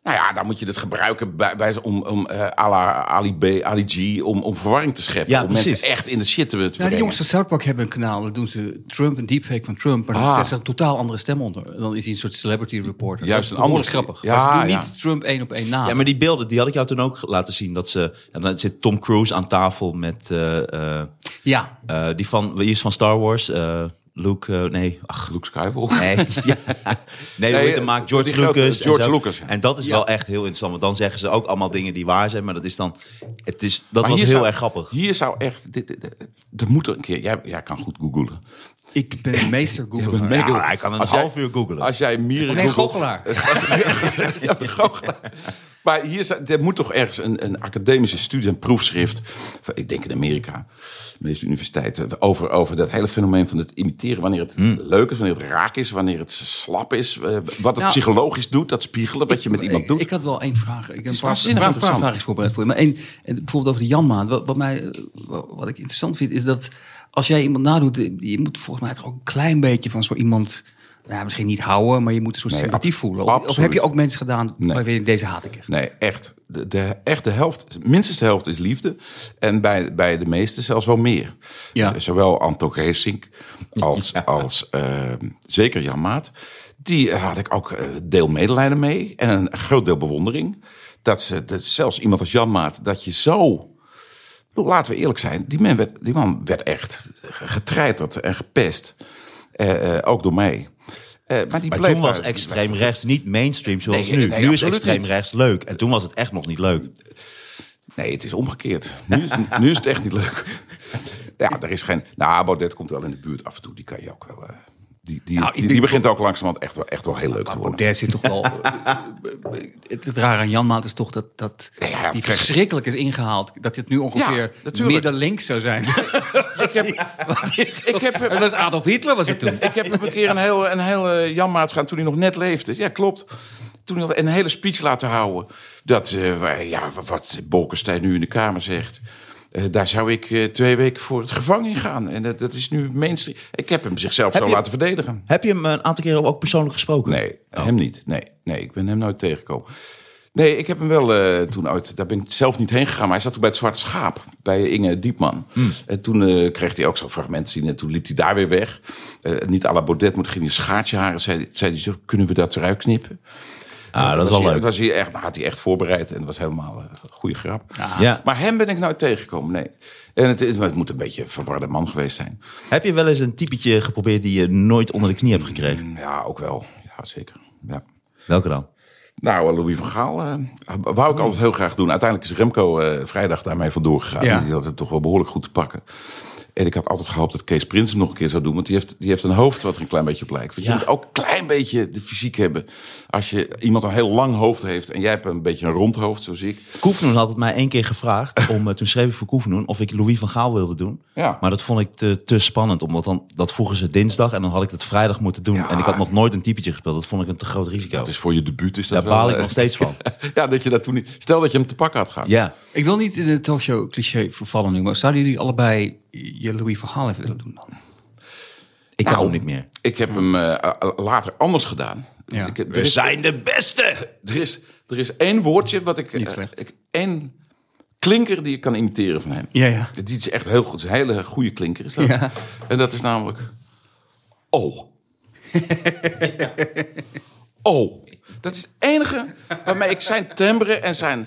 C: Nou ja, dan moet je het gebruiken bij, bij, om, om eh, à la Ali B, Ali G... om, om verwarring te scheppen.
B: Ja,
C: om mensen
B: precies.
C: echt in de shit te te
D: Nou, die
C: brengen.
D: jongens van South Park hebben een kanaal. Daar doen ze Trump, een deepfake van Trump. Maar dan
C: Ah.
D: zet ze een totaal andere stem onder. En dan is hij een soort celebrity reporter.
C: Juist
D: Dat
C: een
D: is
C: andere-
D: behoorlijk grappig.
C: Ja,
D: Ja, ze doen
C: ja.
D: niet Trump één op één na.
C: Ah.
B: Ja, maar die beelden, die had ik jou toen ook laten zien. Dat ze, ja, dan zit Tom Cruise aan tafel met eh, eh,
D: ja.
B: eh, die van, die is van Star Wars. eh, Luke, eh, nee, ach,
C: Luke Skywalker. *laughs*
B: Nee, *laughs* ja. nee, hoe
C: Nee,
B: heet hem maakt George
C: die grote
B: Lucas.
C: George
B: en, zo.
C: Lucas, ja.
B: en dat is
D: Ja.
B: wel echt heel interessant. Want dan zeggen ze ook allemaal dingen die waar zijn. Maar dat is dan. Het is, dat was
C: Maar
B: heel
C: hier zou-
B: erg grappig.
C: Hier zou echt... Dit, dit- dit- er moet er een keer... Jij, jij kan goed googelen.
D: Ik ben
C: *laughs*
D: een meester Google.
B: Ja, hij kan een
C: Als jij-
B: half uur googelen.
C: Als jij mieren
D: Nee,
C: googelt-
D: goochelaar.
C: *laughs* ja, een goochelaar. Maar hier zou- er moet toch ergens een, een academische studie, een proefschrift... van, ik denk in Amerika, de meeste universiteiten... over, over dat hele fenomeen van het imiteren. Wanneer het
B: Hmm.
C: leuk is, wanneer het raak is, wanneer het slap is. eh, Wat het psychologisch doet, dat spiegelen wat je met iemand doet.
D: Nou, Ik had wel één vraag. Ik heb een paar, een
C: waanzinnig
D: paar, paar
C: interessant.
D: vragen voorbereid voor je. Maar één, en bijvoorbeeld over de Janmaat. Wat, wat, mij, eh, wa- wat ik interessant vind, is dat als jij iemand nadoet... eh, je moet volgens mij toch ook een klein beetje van zo iemand... Nou, misschien niet houden, maar je moet een soort
C: Nee,
D: sympathie
C: ab-
D: voelen. Of, of heb je
C: absoluut.
D: ook mensen gedaan
C: Nee.
D: waar je deze haat ik echt?
C: Nee, echt. De, de, echt de helft, minstens de helft is liefde. En bij, bij de meesten zelfs wel meer.
D: Ja.
C: Eh, Zowel Anto
B: *laughs*
C: Geesink als, als eh, zeker Jan Maat. Die eh, had ik ook eh, deel medelijden mee. En een groot deel bewondering. Dat, ze, dat zelfs iemand als Jan Maat, dat je zo... Ik bedoel, Laten we eerlijk zijn, die man werd, die man werd echt getreiterd en gepest. Eh, eh, ook door mij. Eh, maar die
B: maar
C: bleef
B: toen was
C: daar-
B: extreem rechts niet mainstream zoals
C: Nee,
B: nu.
C: nee,
B: nu is
C: absoluut
B: extreem
C: niet.
B: rechts leuk. En toen was het echt nog niet leuk.
C: Nee, het is omgekeerd. Nu is,
D: *laughs*
C: nu is het echt niet leuk. Ja, er is geen... Nou, Baudet komt wel in de buurt af en toe. Die kan je ook wel... eh, die, die,
D: Nou, ik
C: die, die
D: denk-
C: begint ook langzamerhand echt wel, echt wel heel leuk te worden.
D: Baudet zit toch wel... *laughs* het, het rare aan Janmaat is toch dat, dat
C: Nee, ja,
D: die
C: kijk.
D: verschrikkelijk is ingehaald. Dat dit nu ongeveer
C: natuurlijk.
D: middenlinks zou zijn.
C: *laughs* Ik heb, ik heb,
D: dat was
C: *laughs*
D: Adolf Hitler was het toen.
C: ik heb hem een keer een heel, een heel eh, Jan Maats gaan toen hij nog net leefde. Ja, klopt. toen had een hele speech laten houden. Dat, eh, waar- ja, wat Bolkestein nu in de Kamer zegt. eh, daar zou ik eh, twee weken voor het gevangen in gaan. En dat, dat is nu mainstream. Ik heb hem zichzelf
B: Heb
C: zo
B: je-
C: laten verdedigen.
B: Heb je hem een aantal keren ook persoonlijk gesproken?
C: Nee, hem niet. Nee, nee, ik ben hem nooit tegengekomen. Nee, ik heb hem wel eh, toen uit... Daar ben ik zelf niet heen gegaan, maar hij zat toen bij het Zwarte Schaap. Bij Inge Diepman.
B: Hmm.
C: En toen eh, kreeg hij ook zo'n fragment te zien. En toen liep hij daar weer weg. Eh, niet à la Baudet, maar toen ging hij een schaartje haren. Zei, zei hij zo, kunnen we dat eruit knippen?
B: Ah, dat is
C: was
B: wel
C: hij-
B: leuk.
C: was hij echt, nou, had hij echt voorbereid en dat was helemaal eh, een goede grap.
B: Ja.
C: Maar hem ben ik nooit tegengekomen, nee. En het, het moet een beetje een verwarde man geweest zijn.
B: Heb je wel eens een typetje geprobeerd die je nooit onder de knie hebt gekregen?
C: Ja, ook wel. Ja, zeker. Ja.
B: Welke dan?
C: Nou, eh, Louis van Gaal eh, wou ik altijd heel graag doen. Uiteindelijk is Remco eh, vrijdag daarmee vandoor gegaan.
D: Ja.
C: Die had het toch wel behoorlijk goed te pakken. En ik had altijd gehoopt dat Kees Prins hem nog een keer zou doen. Want die heeft, die heeft een hoofd wat er een klein beetje op lijkt. Want
B: Ja.
C: je moet ook een klein beetje de fysiek hebben. Als je iemand een heel lang hoofd heeft en jij hebt een beetje een rond hoofd, zoals ik.
B: Koefnoen had het mij één keer
C: *laughs*
B: gevraagd. Om, eh, toen schreef ik voor Koefnoen of ik Louis van Gaal wilde doen.
C: Ja.
B: Maar dat vond ik te, te spannend. Omdat dan, dat vroegen ze dinsdag en dan had ik het vrijdag moeten doen.
C: Ja.
B: En ik had nog nooit een typetje gespeeld. Dat vond ik een te groot risico.
C: Dat is voor je debuut. Is dat
B: Daar baal
C: wel,
B: ik
C: eh,
B: nog steeds van.
C: *laughs* ja, dat je dat toen niet... Stel dat je hem te pakken had gehad.
B: Ja.
D: Ik wil niet in de talkshow cliché vervallen nu, maar zouden jullie allebei je Louis van Gaal even willen doen dan?
B: Ik kan
C: Nou,
B: hem niet meer.
C: Ik heb hem eh, a- a- later anders gedaan.
D: Ja.
C: Ik, er
B: We
C: is-
B: zijn de beste!
C: Er is, er is één woordje wat ik.
D: Niet
C: eh,
D: slecht.
C: ik- één klinker die ik kan imiteren van hem.
D: Ja, ja.
C: Die is echt heel goed. Een hele goede klinker is dat.
D: Ja.
C: En dat is namelijk.
D: *laughs*
C: Oh. Oh. Dat is het enige waarmee ik zijn timbre en zijn,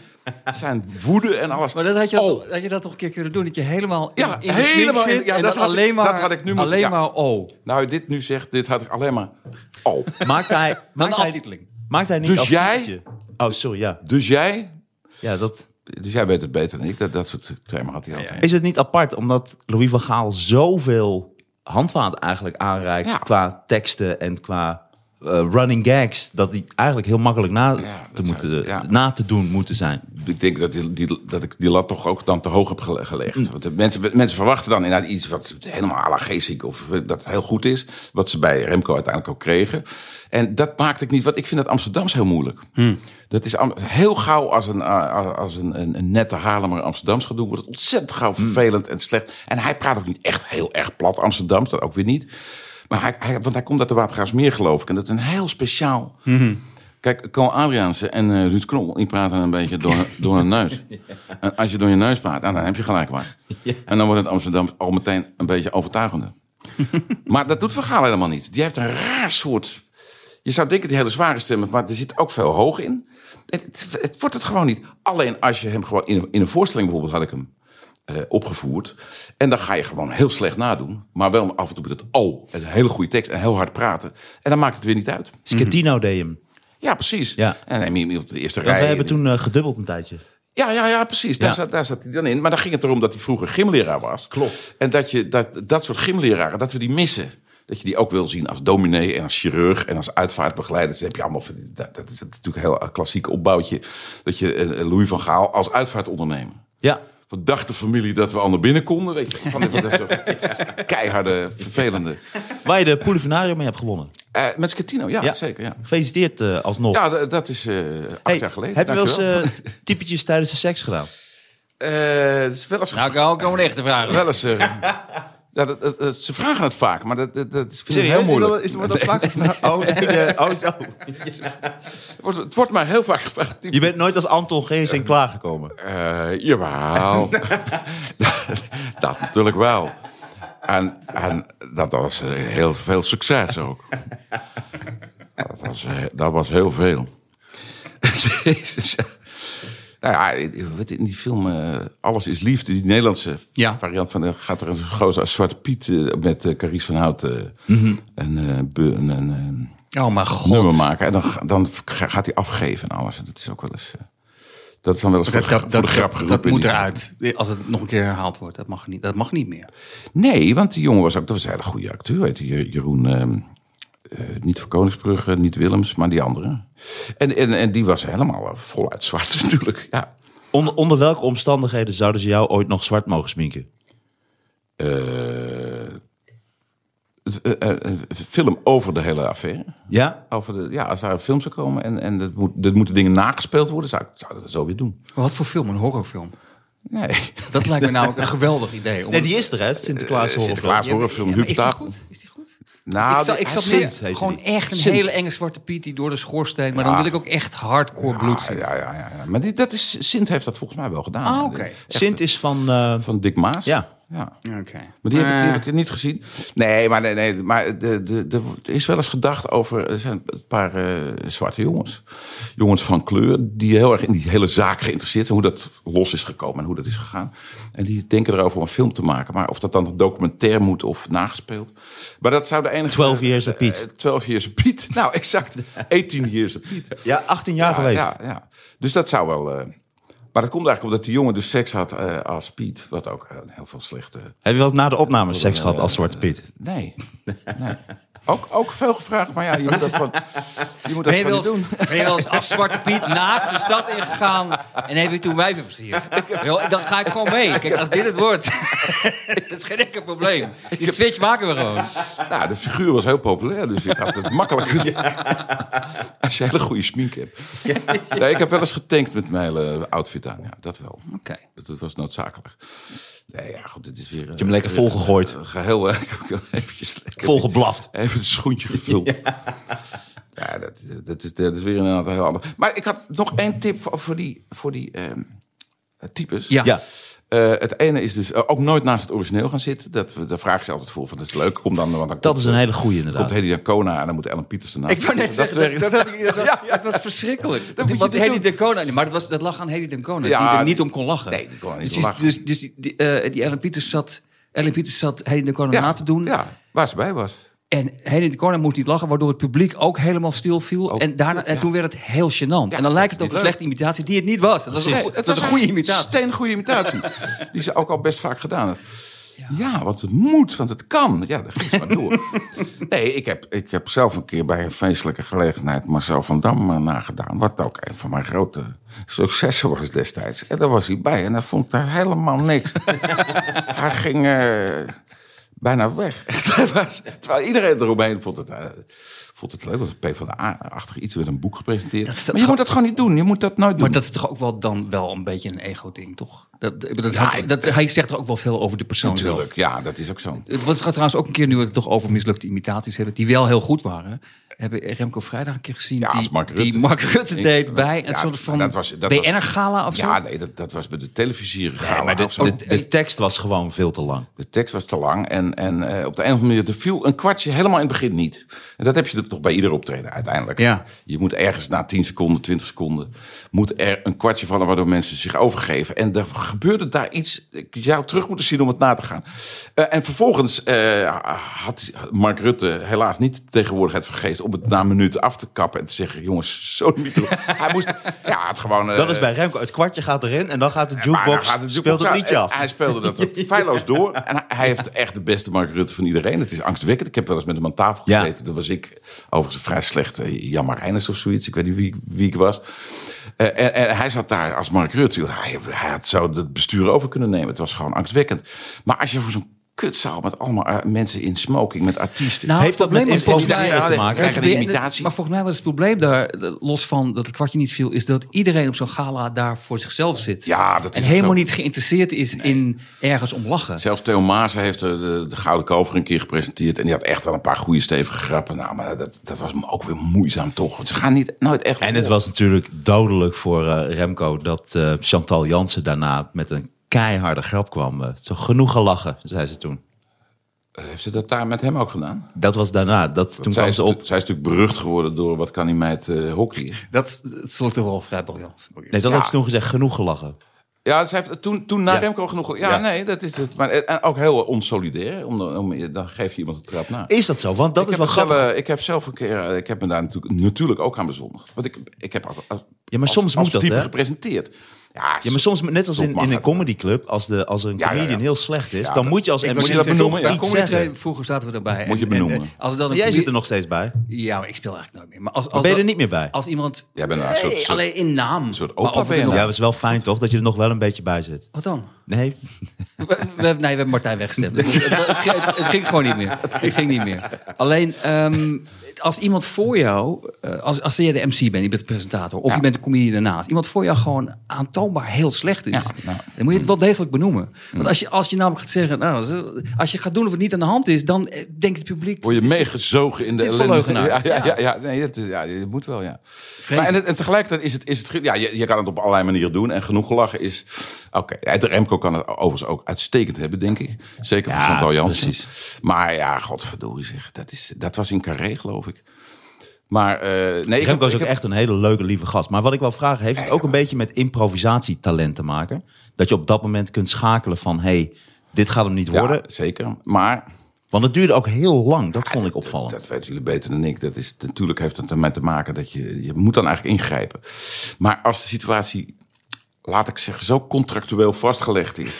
C: zijn woede en alles.
D: Maar dat had je, dat-
C: Oh.
D: had je dat toch een keer kunnen doen? Dat je helemaal in,
C: Ja,
D: in de smink
C: helemaal in-
D: zit
C: ja,
D: en
C: dat
D: dan
C: had ik-
D: alleen maar,
C: dat had ik nu moeten-
D: alleen
C: ja.
D: maar oh.
C: Nou, dit nu zegt, dit had ik alleen maar. Oh.
B: Maakt hij,
D: Maar
B: maakt
D: een
B: hij,
D: aftiteling.
B: maakt hij niet
C: Dus
B: als
C: jij-
B: typetje? Oh, sorry, ja.
C: Dus jij.
B: ja dat,
C: Dus jij weet het beter dan ik. Dat, dat soort termen had hij altijd.
B: Is het niet apart omdat Louis van Gaal zoveel handvaat eigenlijk aanreikt
C: Ja.
B: qua teksten en qua eh, running gags dat die eigenlijk heel makkelijk na, te
C: dat
B: moeten,
C: zou- ja.
B: na te doen moeten zijn.
C: Ik denk dat, die, die- dat ik die lat toch ook dan te hoog heb gele- gelegd. Want de mensen, mensen verwachten dan inderdaad iets wat helemaal à la Geesink of eh, dat heel goed is. Wat ze bij Remco uiteindelijk ook kregen. En dat maakte ik niet, want ik vind dat Amsterdams heel moeilijk. Dat is am- heel gauw als een, eh, als een, een, een nette Haarlemmer Amsterdams gaat doen. Wordt het ontzettend gauw vervelend en slecht. En hij praat ook niet echt heel erg plat Amsterdams, dat ook weer niet. Maar hij, hij- want hij komt uit de Watergraafsmeer geloof ik. En dat is een heel speciaal... Kijk, Ko Adriaanse en eh, Ruud Knol, die praten een beetje door, door hun neus. En als je door je neus praat, nou, dan heb je gelijk waar. En dan wordt het Amsterdam al meteen een beetje overtuigender. maar dat doet Van Gaal helemaal niet. Die heeft een raar soort... Je zou denken, die hele zware stemmen, maar er zit ook veel hoog in. Het, het, het wordt het gewoon niet. Alleen als je hem gewoon... In, in een voorstelling bijvoorbeeld had ik hem eh, opgevoerd. En dan ga je gewoon heel slecht nadoen. Maar wel af en toe met het oh, en een hele goede tekst en heel hard praten. En dan maakt het weer niet uit.
B: Schettino
C: Mhm.
B: deed hem.
C: Ja, precies.
B: Ja.
C: En dan neem je hem op de eerste
B: Want
C: rij.
B: we hebben toen eh, gedubbeld een tijdje.
C: Ja, ja, ja, precies. Daar,
B: Ja.
C: Zat, daar zat hij dan in. Maar dan ging het erom dat hij vroeger gymleraar was.
B: Klopt.
C: En dat, je, dat, dat soort gymleraren, dat we die missen. Dat je die ook wil zien als dominee en als chirurg en als uitvaartbegeleider. Dat heb je allemaal. van die- Dat, dat is natuurlijk een heel eh, klassiek opbouwtje. Dat je eh, Louis van Gaal als uitvaartondernemer.
B: Ja.
C: Wat dacht de familie dat we al naar binnen konden? Weet je, van, van dat
B: *laughs*
C: soort keiharde, vervelende.
B: Waar je de Poelevenarium mee hebt gewonnen.
C: Eh, met Schettino, ja,
B: Ja.
C: zeker. Ja,
B: Gefeliciteerd eh, alsnog.
C: ja d- dat is eh, acht
B: Hey,
C: jaar geleden.
B: heb je wel eens
C: Dankjewel.
B: eh, typetjes tijdens de seks gedaan?
C: Eh, het is wel eens
D: Nou, ik hou- ik hou me echt te vragen.
C: Wel eens. eh, ja, dat, dat- dat- ze vragen het vaak, maar dat, dat, dat vind ik
B: Serieus?
C: heel moeilijk.
B: Is, wordt dat vaak gevraagd? *laughs* Oh, nee, eh, oh, zo. *laughs*
C: Het wordt, het wordt mij heel vaak gevraagd.
B: Je bent nooit als Anton Geesing klaargekomen.
C: Eh, *laughs* jawel. dat natuurlijk wel. En, en dat was eh, heel veel succes ook. Dat was, eh, dat was heel veel. *laughs* Jezus. Nou ja, in weet je, in die film eh, Alles is Liefde, die Nederlandse
D: Ja.
C: variant van... eh, gaat er een gozer als Zwarte Piet eh, met eh Carice van Hout eh, een, eh, be- een, een, een
D: Oh mijn god.
C: nummer maken. En dan, ga- dan ga- gaat hij afgeven en alles. En dat is ook wel eens... eh, dat is dan wel eens voor
D: Dat,
C: de, gra-
D: dat,
C: voor
D: dat,
C: de grap
D: dat,
C: geroepen.
D: dat
C: in
D: moet
C: die-
D: eruit. Als het nog een keer herhaald wordt, dat mag niet, dat mag niet meer.
C: Nee, want die jongen was ook dat was een hele goede acteur. Heet Jeroen, ehm, eh, niet van Koningsbrugge, niet Willems, maar die andere. En, en, en die was helemaal eh, voluit zwart *laughs* natuurlijk. Ja.
B: Onder, onder welke omstandigheden zouden ze jou ooit nog zwart mogen sminken?
C: Eh, eh, eh, een film over de hele affaire.
B: Ja?
C: Over de, ja, als daar een film zou komen en, en dat moet, dat moeten dingen nagespeeld worden, zou ik zou dat zo weer doen.
D: Wat voor film? Een horrorfilm?
C: Nee. *laughs*
D: Dat lijkt me namelijk een geweldig idee. Om...
B: Nee, die is er, hè? Sinterklaas
C: Eh,
B: horrorfilm.
C: Sinterklaas horrorfilm,
D: maar is die
C: Huub
D: goed? Is die goed?
C: Nou,
D: ik zat,
C: die-
D: ik zat
B: Sint
D: meer-
B: heette die.
D: gewoon echt een
B: Sint.
D: hele enge zwarte piet die door de schoorsteen... maar
C: Ja.
D: dan wil ik ook echt hardcore bloed
C: Ah,
D: zien.
C: ja, ja, ja, ja. Maar dit, dat is, Sint heeft dat volgens mij wel gedaan.
D: Ah, oké.
B: Sint is van... eh,
C: Van Dick Maas.
B: Ja.
C: ja.
D: Oké.
C: Maar die heb, ik, die
D: Eh,
C: heb ik niet gezien. Nee, maar, nee, nee, maar de, de, de, er is wel eens gedacht over. Er zijn een paar eh, zwarte jongens. Jongens van kleur. Die heel erg in die hele zaak geïnteresseerd zijn. Hoe dat los is gekomen en hoe dat is gegaan. En die denken erover om een film te maken. Maar of dat dan een documentair moet of nagespeeld. Maar dat zou de enige.
B: 12 Years a Piet.
C: Eh, 12 Years a Piet. *laughs* Nou, exact. 18 Years a Piet.
B: ja, 18 jaar
C: Ja,
B: geweest.
C: Ja, ja. Dus dat zou wel. eh, maar dat komt eigenlijk omdat die jongen dus seks had eh, als Piet. Wat ook eh, heel veel slechte.
B: Heb je wel eens na de opname seks gehad als Zwarte Piet? *laughs*
C: Nee. nee. Ook, ook veel gevraagd, maar ja, je moet dat van, je moet dat
D: Eh, Ben je,
C: van
D: wel
C: niet doen.
D: eens, ben je wel eens als Zwarte Piet naakt de stad ingegaan en heb je toen wijven versierd? Yo, Dan ga ik gewoon mee. Kijk, als dit het wordt, *laughs* dat is geen enkel probleem. Die switch maken we gewoon.
C: Nou, de figuur was heel populair, dus ik had het makkelijk. Als je hele goede smink hebt. Nee, ik heb wel eens getankt met mijn hele outfit aan. Ja, dat wel.
D: Oké.
C: Dat, dat was noodzakelijk. Nee, ja, goed, dit is weer... Je
B: hem lekker volgegooid.
C: Geheel, eh, *laughs* ik heb ook eventjes lekker...
B: Volgeblaft.
C: Even het schoentje
D: *laughs*
C: gevuld. Ja, dat, dat, is, dat is weer een heel ander. Maar ik had nog één tip voor, voor die, voor die ehm, types.
D: Ja.
B: Ja.
C: Eh, het ene is dus eh, ook nooit naast het origineel gaan zitten. Dat, we- daar vraag ik ze altijd voor. Van, dat is leuk. Kom dan, want dan
B: Dat is een hele goeie
C: Komt
B: inderdaad.
C: Hedy Dancona en dan moet Ellen Pieters ernaast.
D: Ik wou net
C: Dat
D: zeggen,
C: werkt-
D: dat, dat, heb ik- dat was, dat was verschrikkelijk.
C: moet je
D: Want
C: niet
D: Hedy
C: doen.
D: de Kona, maar dat, was, dat lag aan Hedy de Kona,
C: Ja,
D: die er niet om kon lachen.
C: nee, die kon er niet
D: dus,
C: om
D: die-
C: lachen.
D: Dus, dus die, die, eh, die Ellen Pieters zat, Ellen Pieters zat Hedy de Kona
C: ja,
D: na te doen.
C: Ja, waar ze bij was.
D: En Hedy de Kona moest niet lachen, waardoor het publiek ook helemaal stil viel.
C: Ook,
D: en, daarna, en toen werd het heel gênant. en dan lijkt het
C: dat
D: ook
C: is
D: een
C: niet
D: slechte imitatie, die het niet was. Dat was, een,
B: Precies.
D: goe- dat was een goede imitatie.
C: Steen goede
D: *laughs*
C: imitatie. die ze ook al best vaak gedaan heeft. Ja, want het moet, want het kan. Ja, dat ging ze maar door. Nee, ik heb, ik heb zelf een keer bij een feestelijke gelegenheid Marcel van Dam eh, nagedaan. Wat ook een van mijn grote successen was destijds. En daar was hij bij en hij vond daar helemaal
D: *laughs*
C: niks. hij ging eh, bijna weg. *laughs* Dat was- Terwijl iedereen eromheen vond het, eh, vond het leuk. Want P van de A-achtig iets werd een boek gepresenteerd.
D: Dat is toch
C: maar je moet dat gewoon niet doen. Je moet dat nooit doen.
D: Maar dat is toch ook wel dan wel een beetje een ego-ding, toch? Dat, ik bedoel, dat, hangt- dat, hij zegt er ook wel veel over de persoon
C: Natuurlijk, ja, dat is ook zo.
D: zelf. Het was gaat trouwens ook een keer, nu we het toch over mislukte imitaties hebben, die wel heel goed waren. Hebben Remco Vrijdag een keer gezien
C: Ja,
D: die,
C: als Mark Rutte.
D: die Mark Rutte
C: Ik-
D: deed bij een
C: ja,
D: soort van
C: maar dat was- dat was-
D: BNR-gala of zo?
C: Ja, nee, dat, dat was bij de televisie
B: Ja,
C: gegaan.
B: maar
C: de,
B: de, de, de tekst was gewoon veel te lang.
C: tekst was te lang en, en eh, op de een of andere manier er viel een kwartje helemaal in het begin niet. En dat heb je toch bij ieder optreden uiteindelijk.
D: Ja.
C: Je moet ergens na 10 seconden, 20 seconden, moet er een kwartje vallen waardoor mensen zich overgeven. En er gebeurde daar iets, ik zou terug moeten zien om het na te gaan. Eh, en vervolgens eh, had Mark Rutte helaas niet de tegenwoordigheid vergeest om het na een minuut af te kappen en te zeggen, jongens, zo niet doen. Hij moest, ja, het gewoon... eh,
B: Dat is bij Remco. Het kwartje gaat erin en dan gaat de
C: Maar dan
B: jukebox,
C: gaat het
B: speelt het
C: jukebox
B: liedje
C: aan.
B: af.
C: Hij speelde dat feilloos
B: *laughs*
C: door. En hij- hij heeft echt de beste Mark Rutte van iedereen. Het is angstwekkend. Ik heb wel eens met hem aan tafel
B: Ja.
C: gezeten. Dan was ik overigens een vrij slechte eh, Jan Marijnis of zoiets. Ik weet niet wie, ik- wie ik was. Eh, en, en hij zat daar als Mark Rutte. Hij, hij had zo het bestuur over kunnen nemen. Het was gewoon angstwekkend. Maar als je voor zo'n kutzaal met allemaal eh, mensen in smoking, met artiesten.
D: Nou,
B: Heeft dat met
D: probleem was volgens
B: improviseren
C: mij-
B: te
C: Ja,
B: maken?
C: nee,
B: Kijk,
C: nee. eigen imitatie.
D: Maar volgens mij was het probleem daar, eh, los van dat het kwartje niet viel, is dat iedereen op zo'n gala daar voor zichzelf zit.
C: Ja, dat is
D: en
C: het
D: helemaal
C: ook.
D: niet geïnteresseerd is in ergens om lachen.
C: Zelfs Theo Maas heeft eh, de, de Gouden Kalver een keer gepresenteerd. En die had echt wel een paar goede stevige grappen. Nou, maar dat, dat was ook weer moeizaam toch. Want ze gaan niet, nooit echt...
B: En het was natuurlijk dodelijk voor eh, Remco dat eh, Chantal Jansen daarna met een keiharde grap kwam. Eh, zo genoeg gelachen, zei ze toen.
C: Eh, Heeft ze dat daar met hem ook gedaan?
B: Dat was daarna. Dat, toen
C: zij,
B: kwam
C: is,
B: ze op.
C: natu- zij is natuurlijk berucht geworden door Wat kan die meid eh hockey.
D: Dat, is- dat stond toch wel vrij briljant.
B: Nee, dat
C: Ja.
B: had ze toen gezegd. Genoeg gelachen.
C: Ja, ze heeft toen, toen na
B: Ja.
C: Remco genoeg... Ja,
B: Ja.
C: nee, dat is het. Maar, eh, en ook heel onsolidair. Om, om, dan geef je iemand een trap na.
B: Is dat zo? Want dat
C: ik
B: is
C: heb
B: wel
C: het zelf,
B: grappig.
C: eh, ik heb zelf een keer, eh, ik heb me daar natuurlijk, natuurlijk ook aan bezondigd. Want ik, ik heb als, als-
B: Ja, maar soms
C: als
B: moet dat,
C: type
B: hè?
C: gepresenteerd. Ja,
B: Ja, maar soms net als in,
C: Soms mag
B: in een
C: het.
B: comedyclub, als, de, als een
C: Ja, ja,
B: comedian
C: ja.
B: heel slecht is,
C: Ja,
B: dan
C: dat-
B: moet je als
C: ik
B: MC
C: was net
B: toch
C: benoemen, ja.
B: iets
D: Comedy
B: zeggen.
D: Train, vroeg zaten we erbij.
C: Moet je
D: En- en,
C: benoemen.
D: eh, als dan een
B: Jij zit er
D: comedi-
B: nog steeds bij.
D: Ja, maar ik speel eigenlijk nooit meer. Maar als, als
B: ben je er
D: dat-
B: niet meer bij?
D: Als iemand...
C: Jij bent een soort-
D: Nee,
C: soort-
D: alleen in naam.
C: soort
D: Maar of
C: opa
D: we
C: ben je
D: nog-
B: Ja, dat is wel fijn toch, dat je er nog wel een beetje bij zit.
D: Wat dan?
B: Nee?
D: We, we, hebben- nee, we hebben Martijn
B: *laughs*
D: weggestemd. het, het- het ging- het- het ging gewoon niet meer. Het ging niet meer. Alleen, ehm, als iemand voor jou... eh, als, als jij de MC bent, je bent de presentator... of je bent de comedian daarnaast. Iemand voor jou gewoon aantoonbaar heel slecht is.
B: nou.
C: Ja, ja.
D: Dan moet je het wel
B: Mm.
D: degelijk benoemen. Want als je, als je namelijk gaat zeggen... Nou, zo- als je gaat doen of het niet aan de hand is... dan eh, denkt het publiek...
C: Word je meegezogen in de
D: Dit is wel
C: ellende.
D: leugenaar.
C: Ja, ja, ja, ja, nee, het, ja, het moet wel, ja. Maar en, het- en tegelijkertijd is het, is het... ge- Ja, je, je kan het op allerlei manieren doen. En genoeg gelachen is... Oké, het Remco kan het overigens ook uitstekend hebben, denk ik. Zeker van
B: Ja,
C: Chantal Jansen.
B: precies.
C: Maar ja, godverdorie zeg. Dat, is, dat was in Carré, geloof ik. Maar eh, nee, ik heb-
B: Remco is
C: ik
B: ook
C: heb-
B: echt een hele leuke, lieve gast. Maar wat ik wel vraag, heeft het ook een beetje met improvisatietalent te maken? Dat je op dat moment kunt schakelen van, hey, dit gaat hem niet
C: Ja,
B: worden.
C: zeker. Maar
B: Want het duurde ook heel lang, dat vond ik opvallend.
C: Dat weten jullie beter dan ik. Dat is, natuurlijk heeft het ermee te maken dat je... Je moet dan eigenlijk ingrijpen. Maar als de situatie, laat ik zeggen, zo contractueel vastgelegd
B: *laughs*
C: is...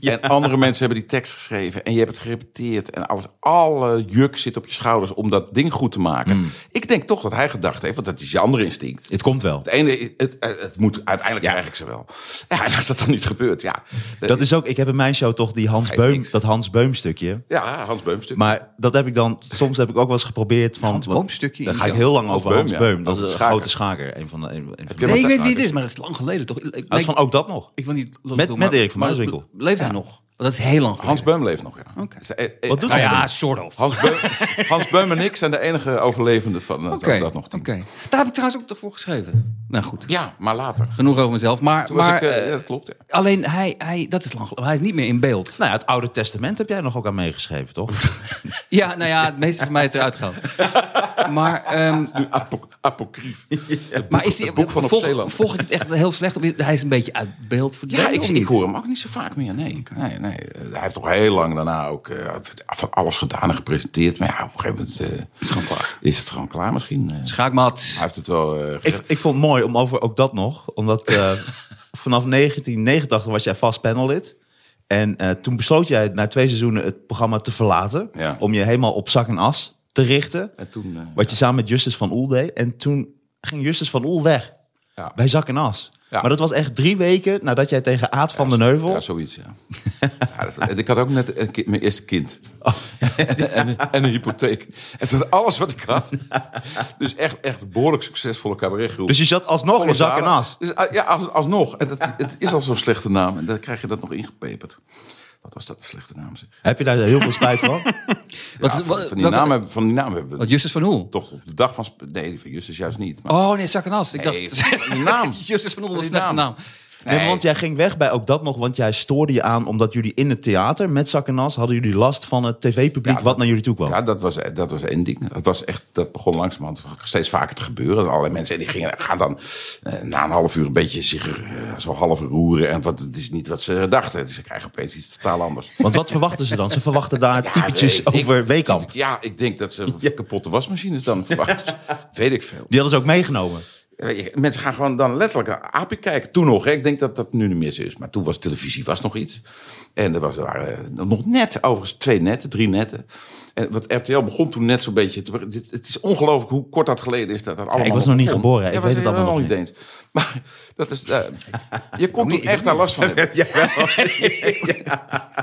C: en andere mensen hebben die tekst geschreven... en je hebt het gerepeteerd en alles... alle juk zit op je schouders om dat ding goed te maken.
B: Hmm.
C: Ik denk toch dat hij gedacht heeft, want dat is je andere instinct...
B: Het komt wel.
C: Het ene, het, het moet uiteindelijk krijg ik ze wel. Ja, en als dat dan niet gebeurt, ja.
B: Dat is ook, ik heb in mijn show toch die Hans
C: Geeft
B: Beum,
C: niks.
B: dat Hans Beum stukje.
C: Ja, Hans Beumstuk.
B: Maar dat heb ik dan, soms heb ik ook wel eens geprobeerd van...
D: Hans
B: wat-
D: Boom stukje
B: Daar
D: in
B: ga ik
D: jezelf.
B: heel lang
C: Hans
B: over
C: Beum,
B: Hans
C: ja.
B: Beum. Dat is een
C: Over schaker.
B: grote schaker. Een van de, een, een van de-
C: je
D: Nee,
C: wat
D: ik weet
C: daar
D: wie het is, maar dat is lang geleden toch? Ik,
B: dat is van ook dat nog.
D: Ik wil niet lullig
B: Met-
D: doen,
B: met
D: maar-
B: Erik van
D: maar
B: Muiswinkel.
D: Leeft hij nog? Want Dat is heel lang geleden.
C: Hans Beum leeft nog, ja.
D: Oké.
C: Dus, eh, eh,
B: Wat doet hij
D: Nou ja,
B: dan?
D: sort of.
C: Hans Beum,
D: *laughs*
C: Hans Beum en ik zijn de enige overlevenden van eh,
D: Oké,
C: dat nog. team.
D: oké. Daar heb ik trouwens ook toch voor geschreven. Nou goed,
C: Ja, maar later.
D: genoeg over mezelf. Maar,
C: Toen was
D: maar
C: ik, eh,
D: eh,
C: ja, dat klopt. ja.
D: alleen hij, hij, dat is lang, geleden. hij is niet meer in beeld.
B: Nou ja, het Oude Testament heb jij nog ook aan meegeschreven, toch? *laughs*
D: Ja, nou ja, het meeste van mij is eruit gehaald.
C: *laughs*
D: maar, ehm,
C: Nu apo- apocrief.
D: maar is die,
C: het boek van op
D: volg,
C: Zeeland.
D: volg ik het echt heel slecht? Of Hij is een beetje uit beeld verdwenen.
C: Ja, ik,
D: of
C: ik
D: niet?
C: hoor hem ook niet zo vaak meer. Nee, nee, nee. Eh, Hij heeft toch heel lang daarna ook eh, van alles gedaan en gepresenteerd. Maar ja, op een gegeven moment eh,
D: Is gewoon klaar.
C: is het gewoon klaar misschien. eh. hij
D: Schaakmat.
C: heeft het wel eh,
B: ik,
C: gered.
B: ik vond het mooi om over ook dat nog. Omdat
C: *laughs*
B: eh, vanaf 1989 was jij vast panellid. En eh, toen besloot jij na twee seizoenen het programma te verlaten.
C: Ja.
B: Om je helemaal op zak en as te richten.
C: En toen, eh,
B: Wat je samen met Justus van Oel deed. En toen ging Justus van Oel weg.
C: Ja.
B: Bij zak en as.
C: Ja.
B: Maar dat was echt drie weken nadat jij tegen Aad van den Heuvel...
C: Ja, zoiets, ja. Ja, dat- ik had ook net een kind- mijn eerste kind. en, en, en een hypotheek. En dat was alles wat ik had. Dus echt, echt een behoorlijk succesvolle cabaretgroep.
B: *laughs* Dus je zat alsnog in zak en as.
C: Dus, ah, ja, als, alsnog. En dat, het is al zo'n slechte naam. En dan krijg je dat nog ingepeperd. Wat was dat een slechte naam? Zeg.
B: Heb je daar heel veel spijt van?
D: Wat,
C: Ja, van,
D: wat,
C: van, die
D: wat-
C: naam hebben, van die naam hebben we
D: wat Justus van Hoel.
C: toch op de dag van... sp- Nee, van Justus juist niet. Maar
D: Oh nee, Zakkenas. Ik
C: Nee,
D: dacht,
C: van die naam.
D: *laughs* Justus van Oel was een
C: Van die
D: slechte naam.
C: naam.
B: Nee, want jij ging weg bij ook dat nog, want jij stoorde je aan omdat jullie in het theater met zak en as hadden jullie last van het tv-publiek
C: Ja,
B: wat
C: dat-
B: naar jullie toe kwam.
C: Ja, dat was, eh, dat was één ding. Dat, was echt, dat begon langzamerhand steeds vaker te gebeuren. Dat Allerlei mensen en die gingen, gaan dan eh, na een half uur een beetje zich eh, zo half roeren. En wat, het is niet wat ze dachten. Dus ze krijgen opeens iets totaal anders.
B: Want wat verwachten ze dan? Ze verwachten
C: *laughs*
B: daar typetjes
C: weet ik.
B: over Weekamp.
C: Ja, ik denk
B: *laughs*
C: dat ze kapotte wasmachines dan verwachten. Weet ik veel.
B: Die hadden ze ook meegenomen.
C: Eh, je- Mensen gaan gewoon dan letterlijk naar aapje kijken. Toen nog, hè. ik denk dat dat nu niet meer zo is. Maar toen was televisie was nog iets. En er, was, er waren eh, nog net, overigens twee netten, drie netten. En wat RTL begon toen net zo'n beetje... Te, dit, het is ongelooflijk hoe kort dat geleden is dat dat allemaal
B: ik was nog niet
C: begon.
B: geboren, hè. Ik
C: was
B: weet het
C: er
B: allemaal
C: nog
B: nog
C: niet eens. *laughs* Maar dat is... eh, je kon toen echt daar
B: *laughs*
C: last van hebben.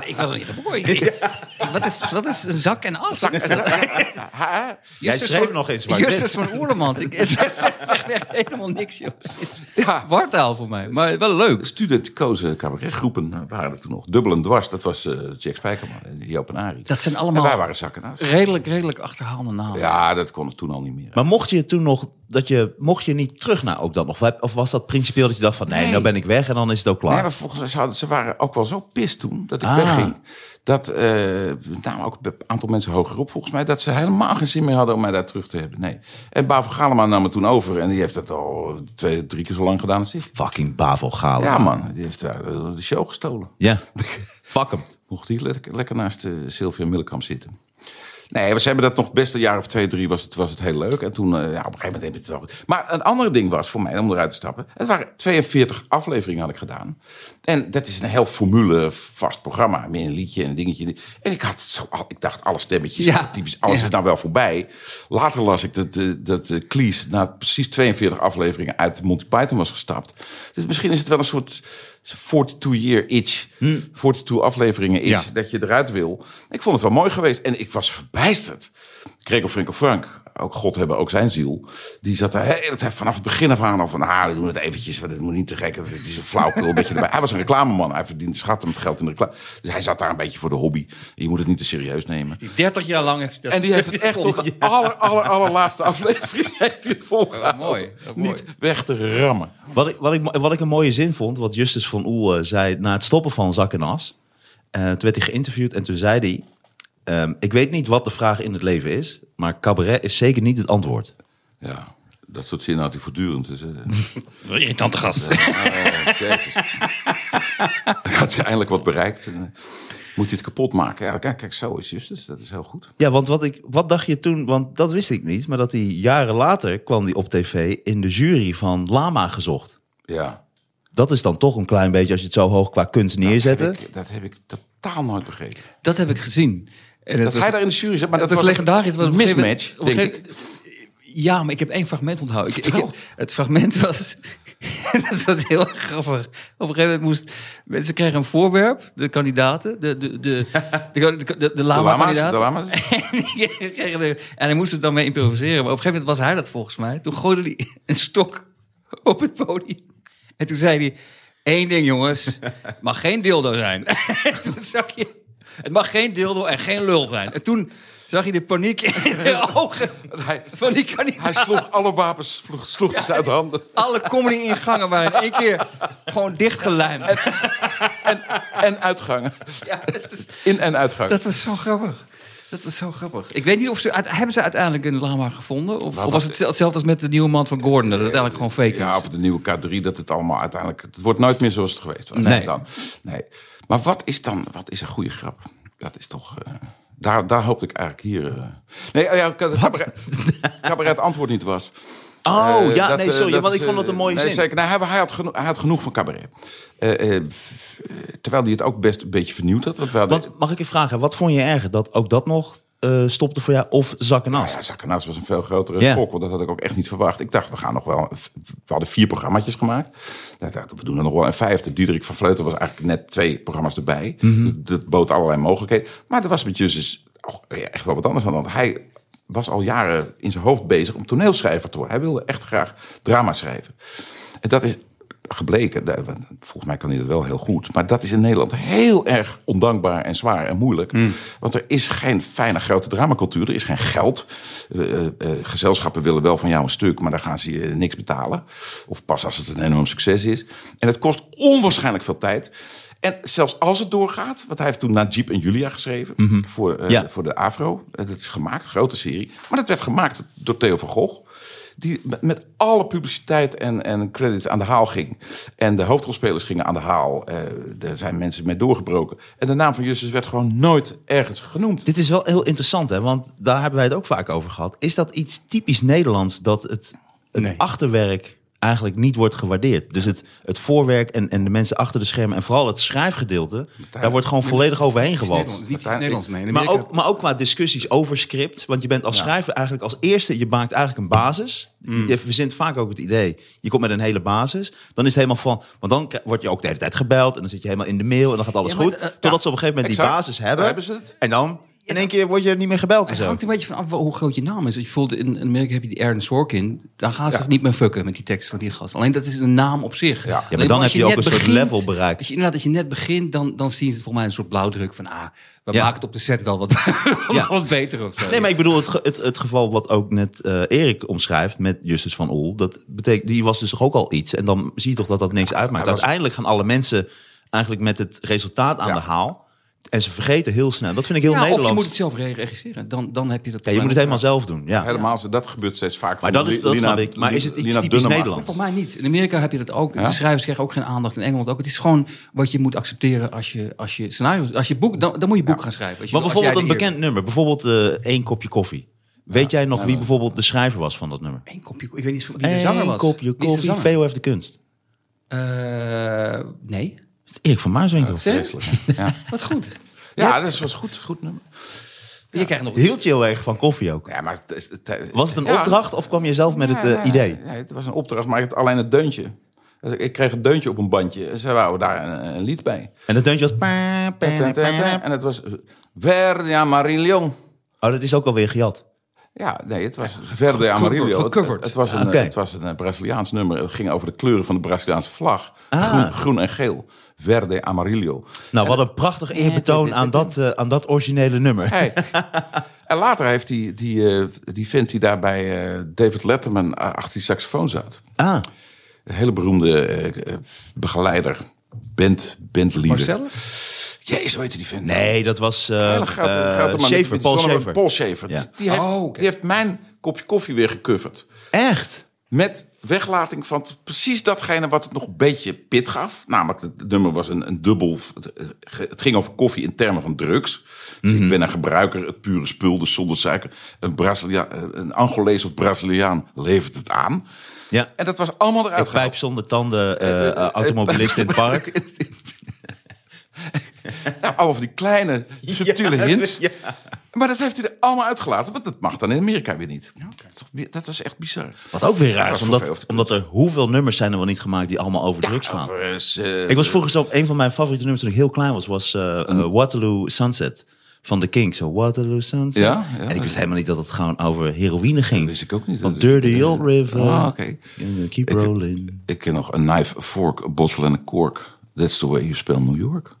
D: Ik was nog niet
C: *laughs*
D: geboren. Wat, is, wat is een zak en as?
C: Ha?
B: Jij
D: Justus
B: schreef
D: van-
B: nog eens. Maar
D: Justus van Oerlemans.
C: *laughs*
D: Ik- Het zegt echt, echt helemaal niks, joh. Het is
C: Ja.
D: wartaal voor mij, maar wel leuk.
C: Student kozen cabaretgroepen eh, waren er toen nog. Dubbel en dwars, dat was eh, Jack Spijkerman en Joop en Arie.
D: Dat zijn
C: En wij
D: allemaal
C: waren zakken naast.
D: redelijk, redelijk achterhaalde namen.
C: Ja, dat kon het toen al niet meer.
B: Maar mocht je toen nog, dat je, mocht je niet terug naar ook dat nog? Of- Of was dat principieel dat je dacht van nee,
C: Nee.
B: nou ben ik weg en dan is het ook klaar?
C: Nee, maar volgens mij zouden- ze waren ook wel zo pist toen dat ik
B: Ah.
C: wegging. Dat, eh met name ook een aantal mensen hogerop volgens mij, dat ze helemaal geen zin meer hadden om mij daar terug te hebben. Nee. En Bavo Galema nam me toen over en die heeft dat al twee, drie keer zo lang gedaan als ik.
B: Fucking Bavo Galen.
C: Ja man, die heeft daar eh, de show gestolen.
B: Ja. Fuck hem.
C: Mocht hij lekker, lekker naast eh Sylvia Millekamp zitten. Nee, we ze hebben dat nog best een jaar of twee, drie was het, was het heel leuk. En toen, eh, ja, op een gegeven moment heb je het wel... goed. Maar een ander ding was voor mij, om eruit te stappen... het waren 42 afleveringen had ik gedaan. En dat is een heel formule vast programma. Meer een liedje en een dingetje. En ik, had zo, al- ik dacht, alle stemmetjes,
D: Ja.
C: typisch, alles
D: Ja.
C: is nou wel voorbij. Later las ik dat, eh, dat eh, Cleese na precies 42 afleveringen uit Monty Python was gestapt. Dus misschien is het wel een soort 42-year itch. 42 afleveringen itch,
D: Ja.
C: dat je eruit wil. Ik vond het wel mooi geweest en ik was verbijsterd. Gregor Frinkel Frank, ook God hebben, ook zijn ziel. Die zat er heel het vanaf het begin af aan al van... Ah, we doen het eventjes, want het moet niet te gek. Het is een flauwkul, een beetje erbij. Hij was een reclameman, hij verdiende schatten met geld in de reclame. Dus hij zat daar een beetje voor de hobby. Je moet het niet te serieus nemen.
E: Die 30 jaar lang heeft hij dat
C: En die heeft *laughs*
D: *laughs*
C: het echt tot de aller, aller, allerlaatste aflevering *laughs* heeft hij het volgehouden.
E: Wat mooi, wat mooi.
C: Niet weg te rammen.
B: Wat ik, wat, ik, wat ik een mooie zin vond, wat Justus van Oel eh, zei na het stoppen van Zak en As. eh, toen werd hij geïnterviewd en toen zei hij... ehm, ik weet niet wat de vraag in het leven is, maar cabaret is zeker niet het antwoord.
C: Ja, dat soort zinnen had hij voortdurend. Dus, eh,
D: Irritante gast.
C: *laughs* Oh, jezus. Had hij eindelijk wat bereikt? En, eh, moet hij het kapot maken? Ja, kijk, kijk, zo is Justus. Dat is heel goed.
B: Ja, want wat, ik, wat dacht je toen, want dat wist ik niet... maar dat hij jaren later kwam hij op tv in de jury van Lama gezocht.
C: Ja.
B: Dat is dan toch een klein beetje, als je het zo hoog qua kunst
C: Nou,
B: neerzetten.
C: Dat heb ik, dat heb ik totaal nooit begrepen.
D: *laughs* Dat heb ik gezien. En
C: Dat, hij daar in de jury zat. Maar dat,
D: het was, legendarisch. Het was op een gegeven
C: mismatch,
D: moment- op een
C: denk
D: gegeven- Ja, maar ik heb één fragment onthouden. Ik, ik,
C: Vertel.
D: het fragment was... *laughs* dat was heel erg grappig. Op een gegeven moment moest... Mensen kregen een voorwerp, de kandidaten. De, de, de, de, de, de, de
C: De lama's,
D: lama-kandidaat.
C: de lama's.
D: *laughs* Die kregen de- en hij moest het dan mee improviseren. Maar op een gegeven moment was hij dat volgens mij. Toen gooide hij *laughs* een stok op het podium. En toen zei hij... één ding jongens, het mag geen dildo zijn. *laughs* En toen zag je... Het mag geen dildo en geen lul zijn. En toen zag je de paniek in *laughs* de ogen
C: *laughs* Hij,
D: van die kandidaat.
C: hij sloeg alle wapens sloeg, sloeg ze uit handen.
D: Alle comedy-ingangen waren in één keer gewoon *laughs* dichtgelijmd.
C: En, en uitgangen.
D: Ja, dat, is-
C: In- en uitgangen.
D: dat was zo grappig. Dat was zo grappig. Ik weet niet of ze... uit- Hebben ze uiteindelijk een lama gevonden? Of, of was het hetzelfde als met de nieuwe man van Gordon? Dat het uiteindelijk gewoon fake is?
C: Ja, of de nieuwe K3, dat het allemaal uiteindelijk... Het wordt nooit meer zoals het geweest was.
D: Nee.
C: Dan, nee. Maar wat is dan... Wat is een goede grap? Dat is toch... eh, daar, daar hoop ik eigenlijk hier... eh, nee, oh ja, cabaret, cabaret antwoord niet was.
B: Oh,
C: Eh,
B: ja,
C: dat,
B: nee,
C: eh,
B: sorry, want
C: is,
B: ik vond dat een
C: eh,
B: mooie
C: nee,
B: zin.
C: Zeker, nee, hij, hij had geno- hij had genoeg van cabaret. Eh, eh, pff, eh, terwijl hij het ook best een beetje vernieuwd had. Want we hadden,
B: Wat, mag ik je vragen, wat vond je erger? Dat ook dat nog eh, stopte voor jou of Zak en As?
C: Nou ja, Zakkenaars was een veel grotere
B: Ja.
C: schok, want dat had ik ook echt niet verwacht. Ik dacht, we gaan nog wel... We hadden vier programmaatjes gemaakt. Ik dacht, we doen er nog wel een vijfde. Diederik van Vleuten was eigenlijk net twee programma's erbij. dat, dat bood allerlei mogelijkheden. Maar er was met Justus och, ja, echt wel wat anders aan de hand. Hij was al jaren in zijn hoofd bezig om toneelschrijver te worden. Hij wilde echt graag drama schrijven. En dat is gebleken, daar- want volgens mij kan hij dat wel heel goed. Maar dat is in Nederland heel erg ondankbaar en zwaar en moeilijk. Want er is geen fijne grote dramacultuur, er is geen geld. Eh, eh, eh, gezelschappen willen wel van jou een stuk, maar dan gaan ze je niks betalen. Of pas als het een enorm succes is. En het kost onwaarschijnlijk veel tijd. En zelfs als het doorgaat, want hij heeft toen Najib en Julia geschreven voor, eh,
B: Ja.
C: voor de Afro. Eh, Dat is gemaakt, grote serie. Maar dat werd gemaakt door Theo van Gogh die met- met alle publiciteit en, en credits aan de haal ging. En de hoofdrolspelers gingen aan de haal. Eh daar zijn mensen mee doorgebroken. En de naam van Justus werd gewoon nooit ergens genoemd.
B: Dit is wel heel interessant, hè? Want daar hebben wij het ook vaak over gehad. Is dat iets typisch Nederlands dat het, het
D: Nee.
B: achterwerk eigenlijk niet wordt gewaardeerd? Dus het, het voorwerk en, en de mensen achter de schermen en vooral het schrijfgedeelte, daar wordt gewoon volledig overheen gewalst.
D: Nederlands, niet iets Nederlands, nee. In
B: Maar
D: Amerika-
B: ook, maar ook qua discussies over script. Want je bent als schrijver eigenlijk als eerste, je maakt eigenlijk een basis.
C: Mm.
B: Je verzint vaak ook het idee, je komt met een hele basis. Dan is het helemaal van, want dan k- word je ook de hele tijd gebeld. En dan zit je helemaal in de mail en dan gaat alles
D: Ja, maar,
B: goed.
D: eh,
B: Totdat ze op een gegeven moment
C: exact.
B: die basis
C: Daar
B: hebben.
C: hebben ze het.
B: En dan in één keer word je niet meer gebeld en
D: Het
B: zo.
D: hangt een beetje van af wel hoe groot je naam is. Want Je voelt in Amerika heb je die Aaron Sorkin. Daar gaan ze zich niet meer fucken met die tekst van die gast. Alleen dat is een naam op zich.
C: maar
D: Alleen
B: dan heb
D: als
B: je ook
D: net
B: een soort level bereikt.
D: Als je, inderdaad, als je net begint, dan, dan zien ze het voor mij een soort blauwdruk van... Ah, we
B: Ja.
D: maken het op de set wel wat, *laughs*
B: Ja.
D: wat beter of zo.
B: Nee, maar ik bedoel het, ge- het, het geval wat ook net eh, Erik omschrijft met Justus van Oel. Dat betekent, die was dus toch ook al iets. En dan zie je toch dat dat niks uitmaakt.
C: hij was-
B: Uiteindelijk gaan alle mensen eigenlijk met het resultaat aan
C: Ja.
B: de haal. En ze vergeten heel snel. Dat vind ik heel
D: Ja, of je moet
B: Nederlands.
D: het zelf re- regisseren. Dan, dan heb je dat
B: Ja, je moet het helemaal zelf doen. Ja.
C: Helemaal, zo, dat gebeurt steeds vaak.
B: Maar dat is- dat snap ik. Maar is het iets typisch Nederlands?
D: Volgens mij niet. In Amerika heb je dat ook.
C: Ja?
D: De schrijvers krijgen ook geen aandacht. In Engeland ook. Het is gewoon wat je moet accepteren als je, als je scenario's... Als je boek, dan, dan moet je boek gaan schrijven. Als je,
B: Maar
D: als jij
B: bijvoorbeeld een
D: de eer-
B: bekend nummer. Bijvoorbeeld eh, één kopje koffie. Weet jij nog wie bijvoorbeeld de schrijver was van dat nummer?
D: Eén kopje... Ik weet niet wie de zanger
B: Eén
D: was.
B: kopje
D: Wie is de
B: koffie,
D: zanger?
B: VOF de kunst.
D: Eh, nee.
B: Dat is Erik van Maarswinkel.
D: Serieus?
C: Ja.
D: Wat
B: *laughs*
D: goed.
C: Ja, dat was goed, goed nummer.
D: Je krijgt nog...
B: Hield je heel erg van koffie ook?
C: Ja, maar het is- het- het-
B: Was het een
C: Ja.
B: opdracht of kwam je zelf met het eh,
C: Ja, ja,
B: idee?
C: ja, het was een opdracht, maar ik had alleen het deuntje. Dus Ik kreeg een deuntje op een bandje. en Ze wouden daar een, een lied bij.
B: En dat deuntje was...
C: En het was Verde Amarillo.
B: Oh, dat is ook alweer gejat.
C: Ja, nee, het was Verde Amarillo. Het,
D: gecoverd.
C: het, was een,
B: oké.
C: het was een eh, Braziliaans nummer. Het ging over de kleuren van de Braziliaanse vlag.
B: Ah.
C: Groen, groen en geel. Verde Amarillo.
B: Nou, wat een prachtig eerbetoon aan dat, eh, aan dat originele nummer. *laughs*
C: Hey. en later heeft die, die, eh, die vent die daar bij eh, David Letterman eh, achter die saxofoon zat.
B: Ah,
C: Een hele beroemde eh, eh, begeleider. Band, bandleader.
D: Marcellus?
C: Jezus, hoe heette die vent?
B: nee, dat was eh
C: Hele grote-
B: eh,
C: grote man
B: Schaefer,
C: met die
B: Paul
C: zonnebril.
B: Schaefer.
C: Paul Schaefer.
B: Ja.
C: Die, die heeft,
D: Oh, oké.
C: die heeft mijn kopje koffie weer gecoverd.
B: Echt?
C: Met weglating van precies datgene wat het nog een beetje pit gaf. Namelijk, het nummer was een, een dubbel... Het ging over koffie in termen van drugs. Dus
B: Mhm.
C: Ik ben een gebruiker, het pure spul, dus zonder suiker. Een, Brazilia, een Angolees of Braziliaan levert het aan.
B: Ja.
C: En dat was allemaal eruit
B: Ik pijp zonder tanden, eh, eh, automobilist in het
C: *laughs*
B: park.
C: Ja, Nou, allemaal van die kleine,
B: *laughs*
C: subtiele
B: Ja,
C: hints.
B: ja.
C: Maar dat heeft hij er allemaal uitgelaten, want dat mag dan in Amerika weer niet. Dat, is toch weer- dat was echt bizar.
B: Wat ook weer raar is,
C: voor veel of
B: omdat,
C: de-
B: omdat er hoeveel nummers zijn er wel niet gemaakt die allemaal over drugs gaan.
C: Over, eh,
B: Ah. Ik was vroeger zo, een van mijn favoriete nummers toen ik heel klein was, was eh, eh, Waterloo Sunset van The King. Zo, Waterloo Sunset.
C: Ja, ja.
B: en ik wist helemaal niet dat het gewoon over heroïne ging.
C: Dat wist ik ook niet.
B: Van
C: Dat-
B: Dirty Old River.
C: Ah, oké.
B: And Keep
C: Ik-
B: rolling.
C: Ik ken nog een knife, a fork, a bottle en een kork. That's the way you spell New York.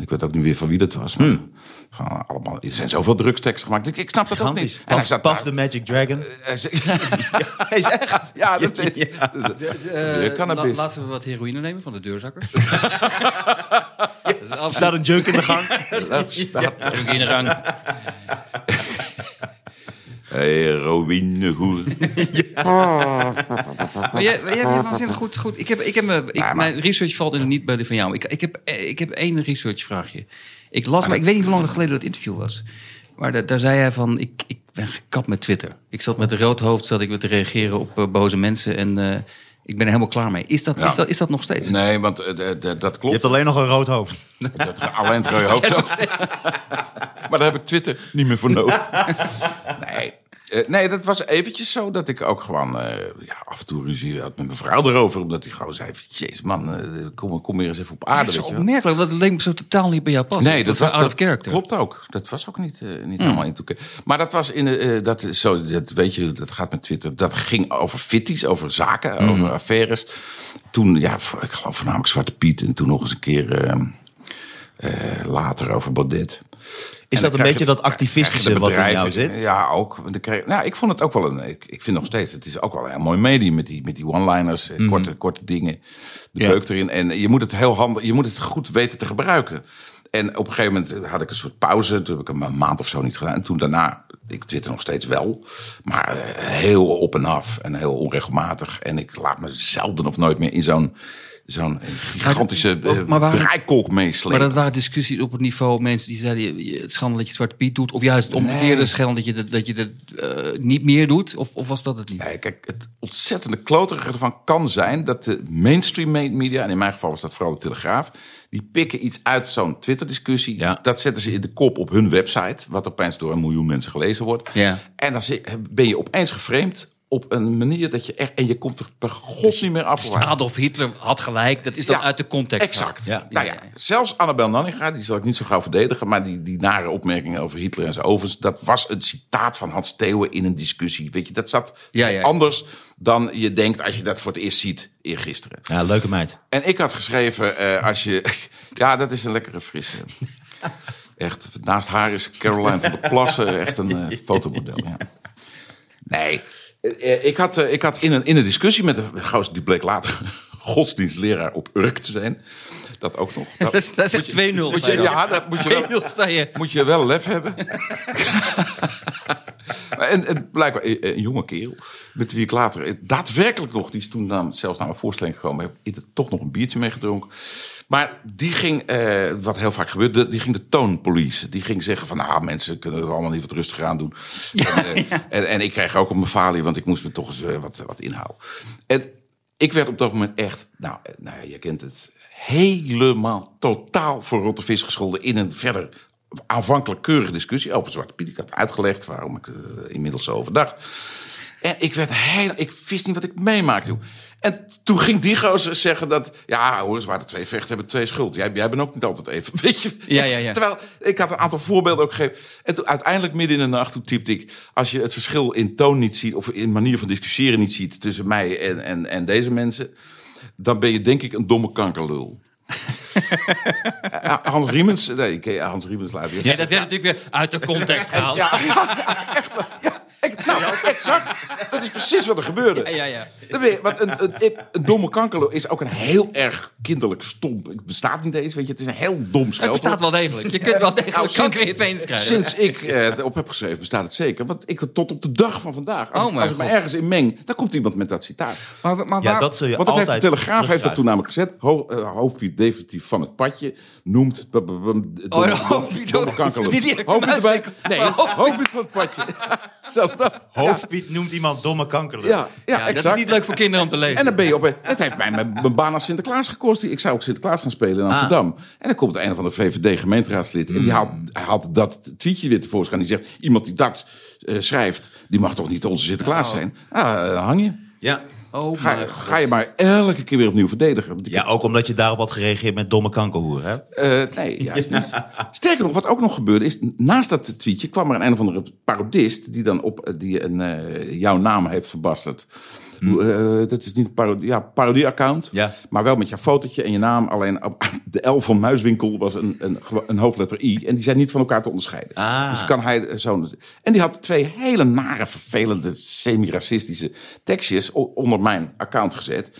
C: Ik weet ook niet meer van wie dat was. Maar
B: Hmm.
C: gewoon allemaal, er zijn zoveel drugsteksten gemaakt. Ik, ik snap dat ook
B: Gigantisch.
C: niet. En hij
B: Puff,
C: zat
B: Puff
C: daar-
B: the Magic Dragon.
C: *laughs* hij zegt-
B: *laughs* Hij is echt.
C: Ja, dat weet
B: Ja.
C: ik. Dat- Weer
D: Eh, la-
C: Cannabis.
D: laten we wat heroïne nemen van de
B: *laughs*
D: deurzakker. *laughs* Dat is
B: Er staat een junk in de *laughs* gang.
C: Dat staat-
D: in de gang.
C: Heroïne, hoe...
D: Maar jij, maar jij hebt hier
C: *laughs*
D: waanzinnig goed, goed. Ik heb, ik heb, me- ik,
C: maar-
D: Mijn research valt in niet bij die van jou. Ik, ik, heb, eh, ik heb één researchvraagje. Ik
C: Ah,
D: las, maar ik weet niet hoe lang geleden dat interview was. Maar da- daar zei hij van, ik, ik ben gekapt met Twitter. Ik zat met een rood hoofd, zat ik weer te reageren op eh, boze mensen. En eh, ik ben er helemaal klaar mee. Is dat,
C: Ja.
D: is dat, is dat nog steeds?
C: Nee, want eh, d- d- dat
B: Je
C: klopt.
B: hebt alleen nog een rood hoofd.
C: Dat ge- alleen het rode hoofd. *laughs* maar daar heb ik Twitter niet meer voor nodig. nee. Eh, nee, dat was eventjes zo dat ik ook gewoon eh, ja, af en toe ruzie had met mijn vrouw erover. Omdat hij gewoon zei, jezus man, eh, kom, kom weer eens even op aarde.
D: Dat is
C: weet je wel.
D: opmerkelijk, want dat leek me zo totaal niet bij jou passen.
C: Nee, dat, was,
D: was out
C: dat
D: of character.
C: klopt ook. Dat was ook niet, eh, niet helemaal in toekomst. Maar dat was in de, eh, dat is zo, dat weet je, dat gaat met Twitter. Dat ging over fitties, over zaken, over affaires. Toen, ja, voor- ik geloof voornamelijk Zwarte Piet en toen nog eens een keer eh, eh, later over Baudet.
B: Is dat een beetje dat activistische wat in jou zit?
C: Ja, ook. Want ik kreeg- nou, ik vond het ook wel een. Ik, ik vind nog steeds. Het is ook wel een heel mooi medium met die, met die one-liners,
B: Mhm.
C: eh, korte, korte dingen. De
D: Ja.
C: beuk erin. En je moet het heel handig. Je moet het goed weten te gebruiken. En op een gegeven moment had ik een soort pauze. Toen heb ik hem een maand of zo niet gedaan. En toen daarna, ik twitter nog steeds wel. Maar eh, heel op en af. En heel onregelmatig. En ik laat me zelden of nooit meer in zo'n zo'n gigantische eh,
D: maar waarom-
C: draaikolk meeslepen.
D: Maar dat waren discussies op het niveau mensen die zeiden je- je- het schande dat je Zwarte Piet doet. Of juist het omgekeerde schande dat je dat, dat, je dat eh, niet meer doet. Of, of was dat het niet?
C: Nee, kijk, het ontzettende kloterige ervan kan zijn dat de mainstream me- media, en in mijn geval was dat vooral de Telegraaf, die pikken iets uit zo'n Twitter-discussie.
B: Ja.
C: Dat zetten ze in de kop op hun website, wat opeens door een miljoen mensen gelezen wordt.
D: Ja.
C: En dan zi- ben je opeens geframed op een manier dat je echt, en je komt er per god niet meer af. waar.
D: Adolf Hitler had gelijk. Dat is dan
C: Ja,
D: uit de context.
C: Exact.
D: gehaald.
C: Nou ja, zelfs Annabel Nanninga, die zal ik niet zo gauw verdedigen... maar die, die nare opmerkingen over Hitler en zijn ovens... dat was een citaat van Hans Theeuwen in een discussie. Weet je, dat zat
D: Ja, ja.
C: anders dan je denkt als je dat voor het eerst ziet eergisteren.
B: Ja, leuke meid.
C: En ik had geschreven, eh, als je... *laughs* Ja, dat is een lekkere frisse. Echt, naast haar is Caroline van der Plassen echt een eh, fotomodel. Ja. Nee, eh, eh, ik had, eh, ik had in, een, in een discussie met een gozer, die bleek later *laughs* godsdienstleraar op Urk te zijn. Dat ook nog.
D: *laughs*
C: Dat,
D: *laughs* Dat is, dat is echt 2-0.
C: moet je, ja, dat
D: *laughs*
C: moet je wel,
D: 2-0 sta je.
C: moet je wel lef hebben. *laughs* Maar en, en blijkbaar eh, een, een jonge kerel, met wie ik later daadwerkelijk nog, die is toen nam, zelfs naar een voorstelling gekomen, heb ik er toch nog een biertje mee gedronken. Maar die ging, eh, wat heel vaak gebeurt, de- die ging de toon police. Die ging zeggen van, nou mensen kunnen het allemaal niet wat rustiger aan doen. en, eh, en, en ik kreeg ook op mijn falie, want ik moest me toch eens eh, wat, wat inhouden. En ik werd op dat moment echt, nou, eh, nou ja, je kent het, helemaal totaal voor rotte vis gescholden in een verder aanvankelijk keurige discussie over Zwarte Piet. Ik had uitgelegd waarom ik eh, inmiddels zo over dacht. En ik werd heel, ik wist niet wat ik meemaakte. joh. En toen ging die gozer zeggen dat, ja hoor, ze waren twee vechten, hebben twee schuld. Jij, jij bent ook niet altijd even, *laughs* weet je.
D: Ja, ja, ja.
C: Terwijl, ik had een aantal voorbeelden ook gegeven. En toen, uiteindelijk midden in de nacht, toen typte ik... als je het verschil in toon niet ziet... of in manier van discussiëren niet ziet tussen mij en, en, en deze mensen... dan ben je denk ik een domme
D: *laughs*
C: kankerlul. Eh, Hans Riemens... Nee, ik ken Hans Riemens later.
D: Ja, dat werd natuurlijk weer uit de
C: *laughs*
D: context gehaald. Ja,
C: Ex- nou, exact. Dat is precies wat er gebeurde.
D: ja, ja.
C: Dan ben je- want een, een, ik- een domme kankerlul is ook een heel erg kinderlijk stom. Het bestaat niet eens, weet je. Het is een heel dom
D: Het
C: scheldwoord.
D: bestaat wel degelijk. Je kunt wel degelijk
C: Nou,
D: kanker in je penis krijgen.
C: Sinds ik eh, het op heb geschreven, bestaat het zeker. Want ik tot op de dag van vandaag, als,
D: Oh,
C: ik-
D: mijn
C: als ik me
D: God.
C: ergens in meng, dan komt iemand met dat citaat.
D: Maar, maar, maar
B: Ja,
D: waar-
B: dat zul je
C: Want dat
B: altijd
C: heeft de Telegraaf heeft dat toen
B: terugkrijgen.
C: namelijk gezet. Ho, eh, hoofdpiet definitief van het padje noemt... b- b- b- de-
D: Oh,
C: de-
D: hoofdpiet
C: de- de-
D: ook.
C: de kankerloop.
D: Die- die heeft
C: Hoofdpiet
D: hem
C: erbij. Nee,
D: *laughs* Maar hoofdpiet-
C: hoofdpiet van het padje. *laughs* Zelfs dat.
B: Hoofdpiet noemt iemand domme kankerlijk.
C: Ja, ja,
D: Ja, dat is
C: exact.
D: niet leuk voor kinderen om te lezen.
C: En dan ben je op een- Het heeft mij mijn, mijn baan als Sinterklaas gekost. Ik zou ook Sinterklaas gaan spelen in Amsterdam. En dan komt een van de VVD-gemeenteraadslid. En die haalt, haalt dat tweetje weer tevoorschijn. Die zegt: Iemand die dat eh, schrijft, die mag toch niet onze Sinterklaas zijn? Ah, eh, hang je.
B: Ja.
D: Oh,
C: Ga,
D: mijn
C: ga je maar elke keer weer opnieuw verdedigen. Want ik-
B: ja, ook omdat je daarop had gereageerd met domme kankerhoer. Hè?
C: eh, nee, juist niet. Sterker nog, wat ook nog gebeurde is... naast dat tweetje kwam er een, een of andere parodist... die dan op die een, eh, jouw naam heeft verbasterd. Eh, dat is niet een parodie, ja, parodie-account.
B: Hmm. Ja.
C: Maar wel met jouw fotootje en je naam. Alleen op- *laughs* de L van Muiswinkel was een, een, gewo- een hoofdletter I. En die zijn niet van elkaar te onderscheiden.
B: Ah.
C: Dus kan hij eh, zo'n... En die had twee hele nare, vervelende, semi-racistische tekstjes... o- onder mijn account gezet...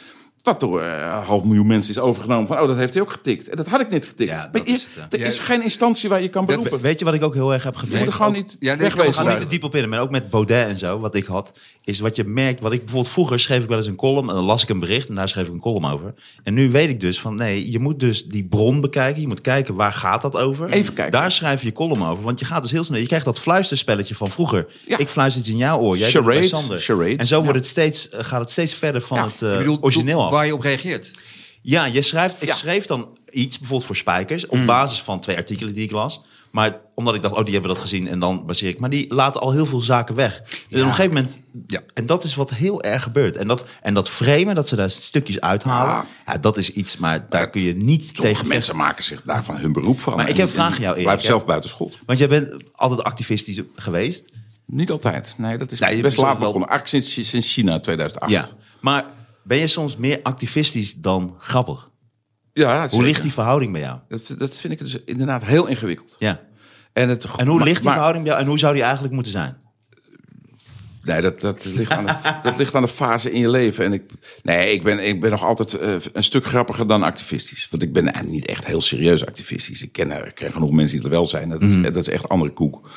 C: Wat door eh, een half miljoen mensen is overgenomen. Van, oh, dat heeft hij ook getikt. En dat had ik niet getikt.
B: Ja, dat is
C: Maar is,
B: het,
C: er
D: ja.
C: is geen instantie waar je kan beroepen.
B: We- Weet je wat ik ook heel erg heb
C: je moet
B: gevreesd?
C: er gewoon niet
D: Ja, nee,
C: wegwezen.
D: dat
B: We gaan niet
C: daar.
B: te diep op in, maar ook met Baudet en zo, wat ik had, is wat je merkt. Wat ik bijvoorbeeld vroeger schreef ik wel eens een column en dan las ik een bericht en daar schreef ik een column over. En nu weet ik dus van nee, je moet dus die bron bekijken. Je moet kijken waar gaat dat over.
C: Even kijken.
B: Daar schrijf je je column over, want je gaat dus heel snel. Je krijgt dat fluisterspelletje van vroeger.
C: Ja.
B: Ik fluister iets in jouw oor, jij doet het bij
C: Charade,
B: Sander.
C: charade.
B: En zo wordt het steeds, eh, gaat het steeds verder van
C: Ja,
B: het eh,
D: Ik bedoel,
B: origineel af.
D: Waar je op reageert.
B: Ja, je schrijft, ik
C: Ja. Mm.
B: schreef dan iets, bijvoorbeeld voor Spijkers, op basis van twee artikelen die ik las. Maar omdat ik dacht, oh, die hebben dat gezien en dan baseer ik. Maar die laten al heel veel zaken weg. Dus op een gegeven moment,
D: Ja.
B: en dat is wat heel erg gebeurt. En dat, en dat framen, dat ze daar stukjes uithalen, ja, dat is iets, maar daar kun je niet
C: Sommige
B: tegen
C: mensen maken zich daarvan hun beroep van.
B: Maar ik
C: En-
B: heb een
C: en
B: vraag aan jou,
C: Blijf
B: Erik.
C: zelf buiten school.
B: Want jij bent altijd activistisch geweest.
C: Niet altijd. Nee, dat is
B: Nee, je
C: best
B: bent
C: laat
B: wel-
C: begonnen. Eigenlijk Sinds, sinds China 2008.
B: Ja. Maar ben je soms meer activistisch dan grappig?
C: ja
B: Hoe ligt die verhouding bij jou?
C: Dat, dat vind ik dus inderdaad heel ingewikkeld.
B: Ja.
C: En, het,
B: En hoe
C: maar-
B: ligt die
C: maar-
B: verhouding bij jou en hoe zou die eigenlijk moeten zijn?
C: Nee, dat, dat, ligt
B: *laughs*
C: aan de, dat ligt aan de fase in je leven. En ik, nee, ik ben, ik ben nog altijd eh, een stuk grappiger dan activistisch. Want ik ben eh, niet echt heel serieus activistisch. Ik ken, eh, ik ken genoeg mensen die er wel zijn. Dat is,
B: Mhm.
C: dat is echt andere koek.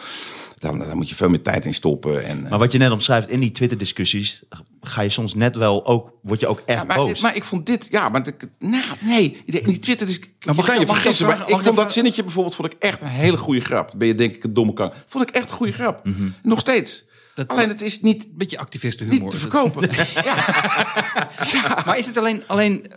C: Dan, dan moet je veel meer tijd in stoppen. En, eh,
B: Maar wat je net omschrijft in die Twitter-discussies, ga je soms net wel ook, word je ook echt
C: Ja, maar,
B: boos.
C: maar ik vond dit, ja, maar ik- nou, nee, die Twitter is, je
D: mag ik-
C: kan Nou, je
D: mag ik
C: vergissen,
D: dat
C: maar
D: vragen? Mag ik
C: ik
D: dat
C: vond dat
D: vragen?
C: zinnetje bijvoorbeeld vond ik echt een hele goede grap. Ben je denk ik een domme kan. Vond ik echt een goede grap. Nog steeds.
D: Dat-
C: Alleen het is niet,
D: Beetje activistenhumor.
C: niet te
D: Dat-
C: verkopen. ja.
D: Maar is het alleen, alleen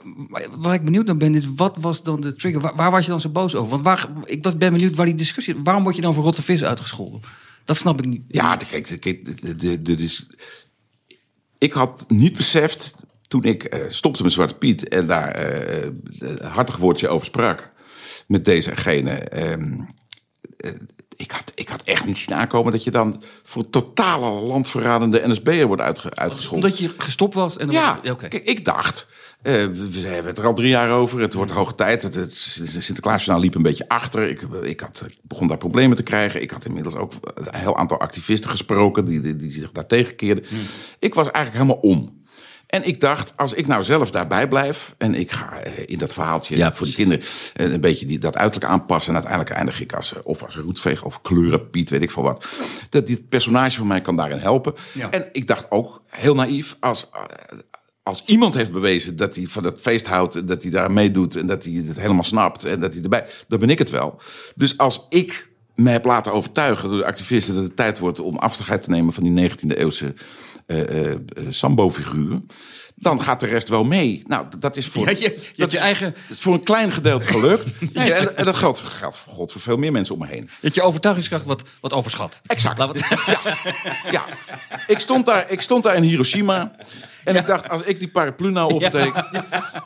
D: waar ik benieuwd naar ben, is wat was dan de trigger? Waar, waar was je dan zo boos over? Want waar, ik was- ben benieuwd waar die discussie. Waarom word je dan voor rotte vis uitgescholden? Dat snap ik niet.
C: Ja, de- kijk, de- kijk, de- de- de- de- dus ik had niet beseft toen ik eh, stopte met Zwarte Piet en daar eh, een hartig woordje over sprak met deze en gene. ehm, eh, ik, had, ik had echt niet zien aankomen dat je dan voor totale landverradende NSB'er wordt uitge, uitgescholden.
D: Omdat je gestopt was en dan
C: Ja,
D: was- oké.
C: kijk, ik dacht, eh, we we hebben het er al drie jaar over. Het wordt hoog tijd. Het, het Sinterklaasjournaal liep een beetje achter. Ik, ik had, ik begon daar problemen te krijgen. Ik had inmiddels ook eh, een
D: Hmm.
C: heel aantal activisten gesproken... die, die, die zich daar tegenkeerden. Ik was eigenlijk helemaal om. En ik dacht, als ik nou zelf daarbij blijf en ik ga eh, in dat verhaaltje
B: Ja,
C: voor die
B: precies.
C: kinderen eh, een beetje die, dat uiterlijk aanpassen. En uiteindelijk eindig ik als, eh, of als roetveeg of kleurenpiet, weet ik veel wat. Dat dit personage van mij kan daarin helpen.
D: Ja.
C: En ik dacht ook, heel naïef, als, eh, als iemand heeft bewezen dat hij van dat feest houdt... en dat hij daar meedoet en dat hij het helemaal snapt en dat hij erbij... dan ben ik het wel. Dus als ik me heb laten overtuigen door de activisten... dat het tijd wordt om afscheid te nemen van die 19e-eeuwse... Sambo-figuren, dan gaat de rest wel mee. Nou, d- dat is voor,
D: Ja, je- je hebt
C: dat
D: je
C: is-
D: eigen-
C: het is voor een klein gedeelte
D: *laughs*
C: gelukt. Nee, en, en dat geldt, geldt voor God voor veel meer mensen om me heen.
D: Dat je overtuigingskracht wat, wat overschat.
C: Exact.
D: Laat het- *laughs*
C: Ja, ik stond daar, ik stond daar in Hiroshima. En ik dacht, als ik die paraplu nou opsteek,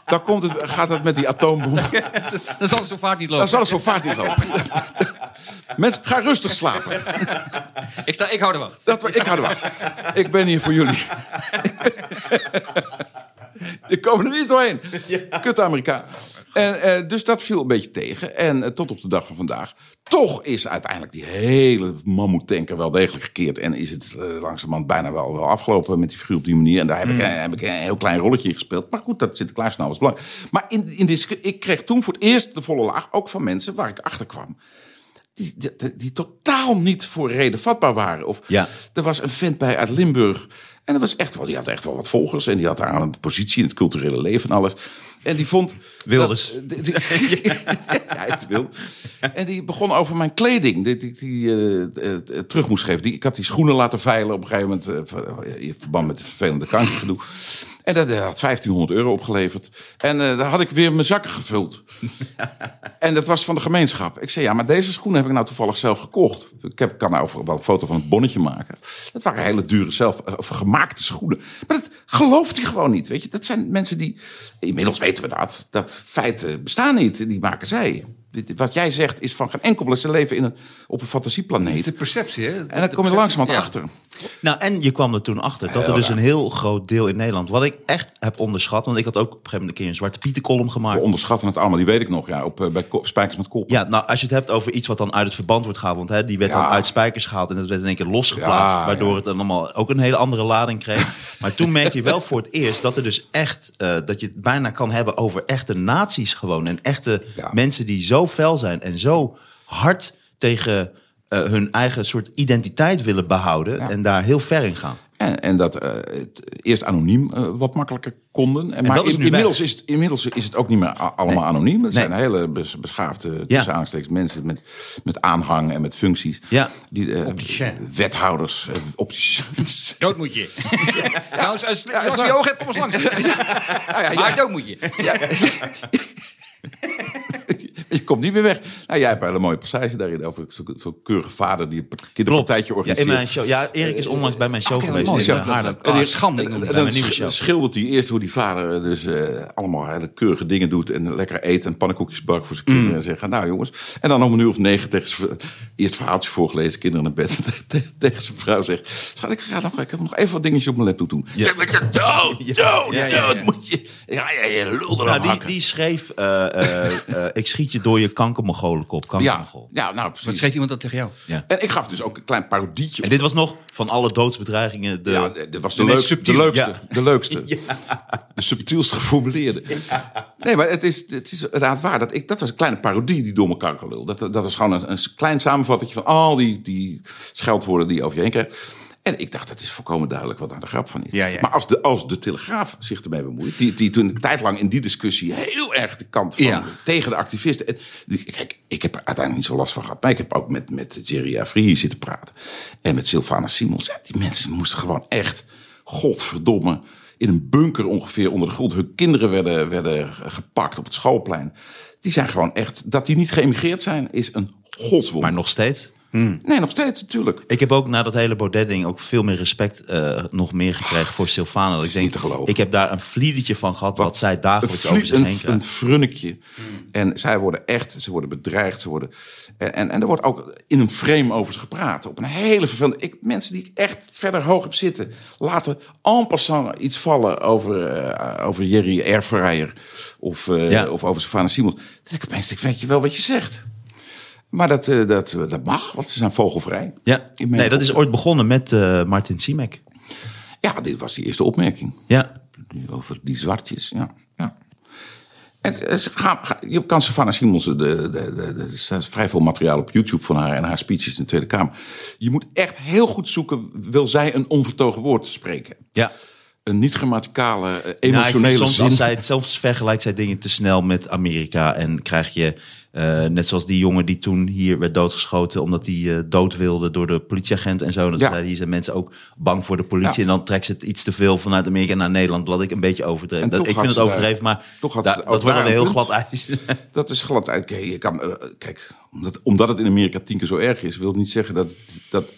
C: dan komt het, gaat het met die
D: *laughs*
C: atoombom.
D: dat zal zo vaak niet
C: Dan
D: lopen.
C: zal het zo vaart niet lopen. *laughs* Mensen, ga rustig slapen.
D: Ik, sta, ik hou de wacht.
C: Dat, wa- ik hou ervan. Ik ben hier voor jullie. Ik kom er niet doorheen. Kut Amerika. En, eh, dus dat viel een beetje tegen. En eh, tot op de dag van vandaag. Toch is uiteindelijk die hele mammoetanker wel degelijk gekeerd. En is het eh, langzamerhand bijna wel, wel afgelopen met die figuur op die manier. En daar heb, ik, eh, heb ik een heel klein rolletje in gespeeld. Maar goed, dat Sinterklaas nou was belangrijk. Maar in, in discu- ik kreeg toen voor het eerst de volle laag. Ook van mensen waar ik achter kwam die, die, die- die totaal niet voor reden vatbaar waren. Of
B: Ja.
C: er was een vent bij uit Limburg. En dat was echt wel, die had echt wel wat volgers. En die had daar een positie in het culturele leven en alles. En die vond...
B: Wilders.
C: dat- die- die- *laughs* ja, het wil. En die begon over mijn kleding. Die, die, die eh, eh, terug moest geven. Die, ik had die schoenen laten veilen op een gegeven moment. eh, van- in verband met het vervelende kankergedoe. En dat eh, had 1500 euro opgeleverd. En eh, daar had ik weer mijn zakken gevuld. En dat was van de gemeenschap. Ik zei, ja, maar deze schoenen heb ik nou toevallig zelf gekocht. Ik heb, kan nou wel een foto van het bonnetje maken. Dat waren hele dure zelf, eh, of gemaakte schoenen. Maar dat gelooft hij gewoon niet, weet je. Dat zijn mensen die, inmiddels weten we dat, dat feiten bestaan niet. Die maken zij. Wat jij zegt is van geen enkel belang. Ze leven in een, op een fantasieplaneet.
D: perceptie, hè?
C: En dan kom je langzamerhand
D: Ja.
C: achter.
B: Nou, en je kwam er toen achter dat er dus een heel groot deel in Nederland... wat ik echt heb onderschat, want ik had ook op een gegeven moment... een keer een Zwarte Pietencolumn
C: We
B: gemaakt.
C: onderschatten het allemaal, die weet ik nog. Ja, op, eh, bij Ko- Spijkers met Kop.
B: Ja, nou, als je het hebt over iets wat dan uit het verband wordt gehaald... want hè, die werd
C: Ja.
B: dan uit spijkers gehaald en dat werd in één keer losgeplaatst...
C: Ja,
B: waardoor
C: ja.
B: het dan allemaal ook een hele andere lading
C: *laughs*
B: kreeg. maar toen merkte je wel voor het eerst dat er dus echt... eh, dat je het bijna kan hebben over echte naties gewoon... en echte
C: Ja.
B: mensen die zo fel zijn en zo hard tegen... eh, hun eigen soort identiteit willen behouden en daar heel ver in gaan.
C: En, en dat eh, het eerst anoniem eh, wat makkelijker konden. En, maar
B: dat is
C: in-
B: nu
C: inmiddels,
B: weg.
C: is het, inmiddels is het ook niet meer a- allemaal anoniem. Het
B: Nee.
C: zijn hele bes- beschaafde tussen
B: Ja.
C: aanstekens mensen met, met aanhang en met functies.
B: Ja.
C: Die, eh,
D: Opticien.
C: wethouders, eh, opticiens.
D: Dood moet *laughs* je. Trouwens, als,
C: is
D: als je
C: waar.
D: oog hebt, kom eens *laughs* langs.
C: Nou ja,
D: Maar
C: ja,
D: dood moet je.
C: *laughs* je komt niet meer weg. Nou, jij hebt een hele mooie passage daarin over zo'n zo'n keurige vader die een kinderpartijtje
B: Ja, in
C: organiseert.
B: mijn show. Ja, Erik is onlangs bij mijn show geweest.
D: mooi.
B: in
D: Ja,
B: eh,
D: dat-
B: Haarlem.
D: Ah, schande.
C: En,
D: Bij
C: en dan
B: mijn nieuwe
C: sch-
B: show.
C: schildert hij eerst hoe die vader eh, dus eh, allemaal hele keurige dingen doet. En lekker eet en pannenkoekjes bakt voor zijn kinderen. En zeggen, nou jongens. En dan om een uur of negen tegen zijn v- eerst verhaaltje voorgelezen, kinderen naar bed. *laughs* Te- te- tegen zijn vrouw zegt, schat, ik, ga nog, ik heb nog even wat dingetjes op mijn laptop doen. Ja. Ik dood, dood, dood,
D: Ja, ja, ja.
C: oh, moet je. Ja, ja, je lul eraf
B: Nou, die,
C: hakken.
B: die schreef, eh, eh, eh, ik schiet je door je kankermogolenkop,
C: ja,
B: kankermogol.
C: ja, nou
D: Wat
C: precies.
D: schreef iemand dat tegen jou?
C: En ik gaf dus ook een klein parodietje
B: En dit was nog van alle doodsbedreigingen de...
C: ja, dat was de,
B: meest
C: leuk-
B: subtiele,
C: de leukste.
B: ja.
C: De leukste. De subtielst geformuleerde. Nee, maar het is, het is inderdaad waar. Dat, ik, dat was een kleine parodie, die domme kankerlul. Dat, dat was gewoon een, een klein samenvatting van al die, die scheldwoorden die je over je heen krijgt. En ik dacht, dat is volkomen duidelijk wat daar de grap van is.
D: Ja, ja.
C: Maar als de, als de Telegraaf zich ermee bemoeit... die, die toen een tijd lang in die discussie heel erg de kant van...
D: Ja.
C: tegen de activisten... En, die- kijk, ik heb er uiteindelijk niet zo last van gehad... maar ik heb ook met, met Jerry Afri hier zitten praten... en met Sylvana Simons. Ja, die mensen moesten gewoon echt, godverdomme... in een bunker ongeveer onder de grond. Hun kinderen werden, werden gepakt op het schoolplein. Die zijn gewoon echt... dat die niet geëmigreerd zijn, is een godswonder.
B: Maar nog steeds.
C: Nee, nog steeds, natuurlijk.
B: Ik heb ook na dat hele Baudet-ding ook veel meer respect eh, nog meer gekregen voor Sylvana. Dat ik
C: Ah, is
B: denk,
C: niet te geloven.
B: ik heb daar een vliedertje van gehad wat, zij
C: een
B: dagelijks
C: vlie-
B: over zich heen Hmm.
C: een, een
B: krijgt.
C: frunnikje. En zij worden echt, ze worden bedreigd. Ze worden, en, en, en er wordt ook in een frame over ze gepraat. Op een hele vervelende... Ik, mensen die ik echt verder hoog heb zitten... laten en passant iets vallen over, eh, over Jerry Airfryer. Of, eh,
B: Ja.
C: of over Savannah Simons. Dan denk ik opeens, ik weet je wel wat je zegt. Maar dat, eh, dat, eh, dat mag, want ze zijn vogelvrij.
B: Ja,
C: In mijn
B: nee, dat is ooit begonnen met eh, Martin Simek.
C: Ja, dit was die eerste opmerking.
B: Ja.
C: Die, over die zwartjes. Ja.
E: Ja.
C: En eh, ze- ze gaan- ga- je kan Savannah Simons, de, de, de, de- er staat vrij veel materiaal op YouTube van haar en haar speeches in de Tweede Kamer. Je moet echt heel goed zoeken, wil zij een onvertogen woord spreken?
B: Ja.
C: Een niet-grammaticale, eh,
B: Nou, ik vind
C: emotionele
B: soms
C: zin.
B: als zij het zelfs vergelijkt zij dingen te snel met Amerika. En krijg je, eh, net zoals die jongen die toen hier werd doodgeschoten. omdat hij eh, dood wilde door de politieagent en zo. Dan
C: Ja.
B: zeiden hier zijn mensen ook bang voor de politie.
C: Ja.
B: En dan trekt ze het iets te veel vanuit Amerika naar Nederland. Wat ik een beetje overdreven.
C: En
B: Dat,
C: toch
B: ik vind
C: had
B: het
C: ze daar-
B: overdreven, maar
C: toch had
B: da-
C: ze ook
B: dat wordt
C: daar
B: dan
C: een
B: heel
C: punt.
B: glad ijs. *laughs*
C: Dat is glad. uit. Kijk, je kan, eh, kijk omdat, omdat het in Amerika tien keer zo erg is, wil het niet zeggen dat, dat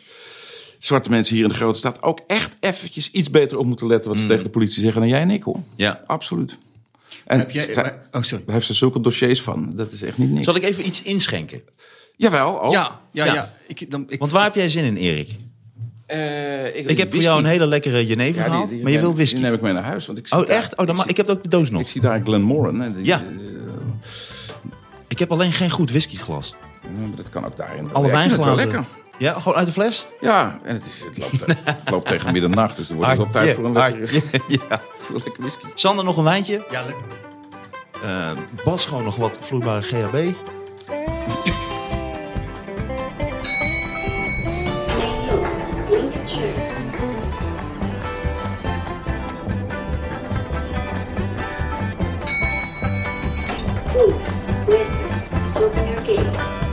C: zwarte mensen hier in de grote stad ook echt eventjes iets beter op moeten letten wat ze tegen de politie zeggen dan jij en ik hoor.
B: Ja.
C: Absoluut. En
D: Heb jij,
C: zij-
D: maar- oh, sorry.
C: daar heeft ze zulke dossiers van. Dat is echt niet niks.
B: Zal ik even iets inschenken?
C: Jawel, ook.
D: Ja, ja, ja.
B: Ja.
D: Ik, dan, ik,
B: Want waar heb jij zin in, Erik?
C: Eh,
B: Ik heb voor jou een hele lekkere Geneve
C: Ja, die-
B: gehaald,
C: die
B: maar je
C: neem-
B: wil
C: Die
B: whisky.
C: neem ik mee naar huis. Want ik zie
B: Oh,
C: daar-
B: echt? Oh, dan
C: ik,
B: ma-
C: zie,
B: ik heb ook de doos
C: ik
B: nog.
C: zie daar Glenmoran. Hè, die-
B: Ja.
C: eh,
B: Ik heb alleen geen goed whiskyglas.
C: maar dat kan ook daarin.
B: Alle
C: Ja, ik vind het wel
B: wijnglazen.
C: lekker.
B: Ja, gewoon uit de fles?
C: Ja, en het, is, het, loopt, het loopt tegen middernacht, dus er wordt dus
B: Ah,
C: al tijd
B: ja,
C: voor een
B: ah,
C: lekkere,
B: ja.
C: *laughs* voor een lekkere whisky.
B: Sander, nog een wijntje.
D: ja, le-
B: Eh, Bas, gewoon nog wat vloeibare GHB.
F: Oops, listen, it's open your gate.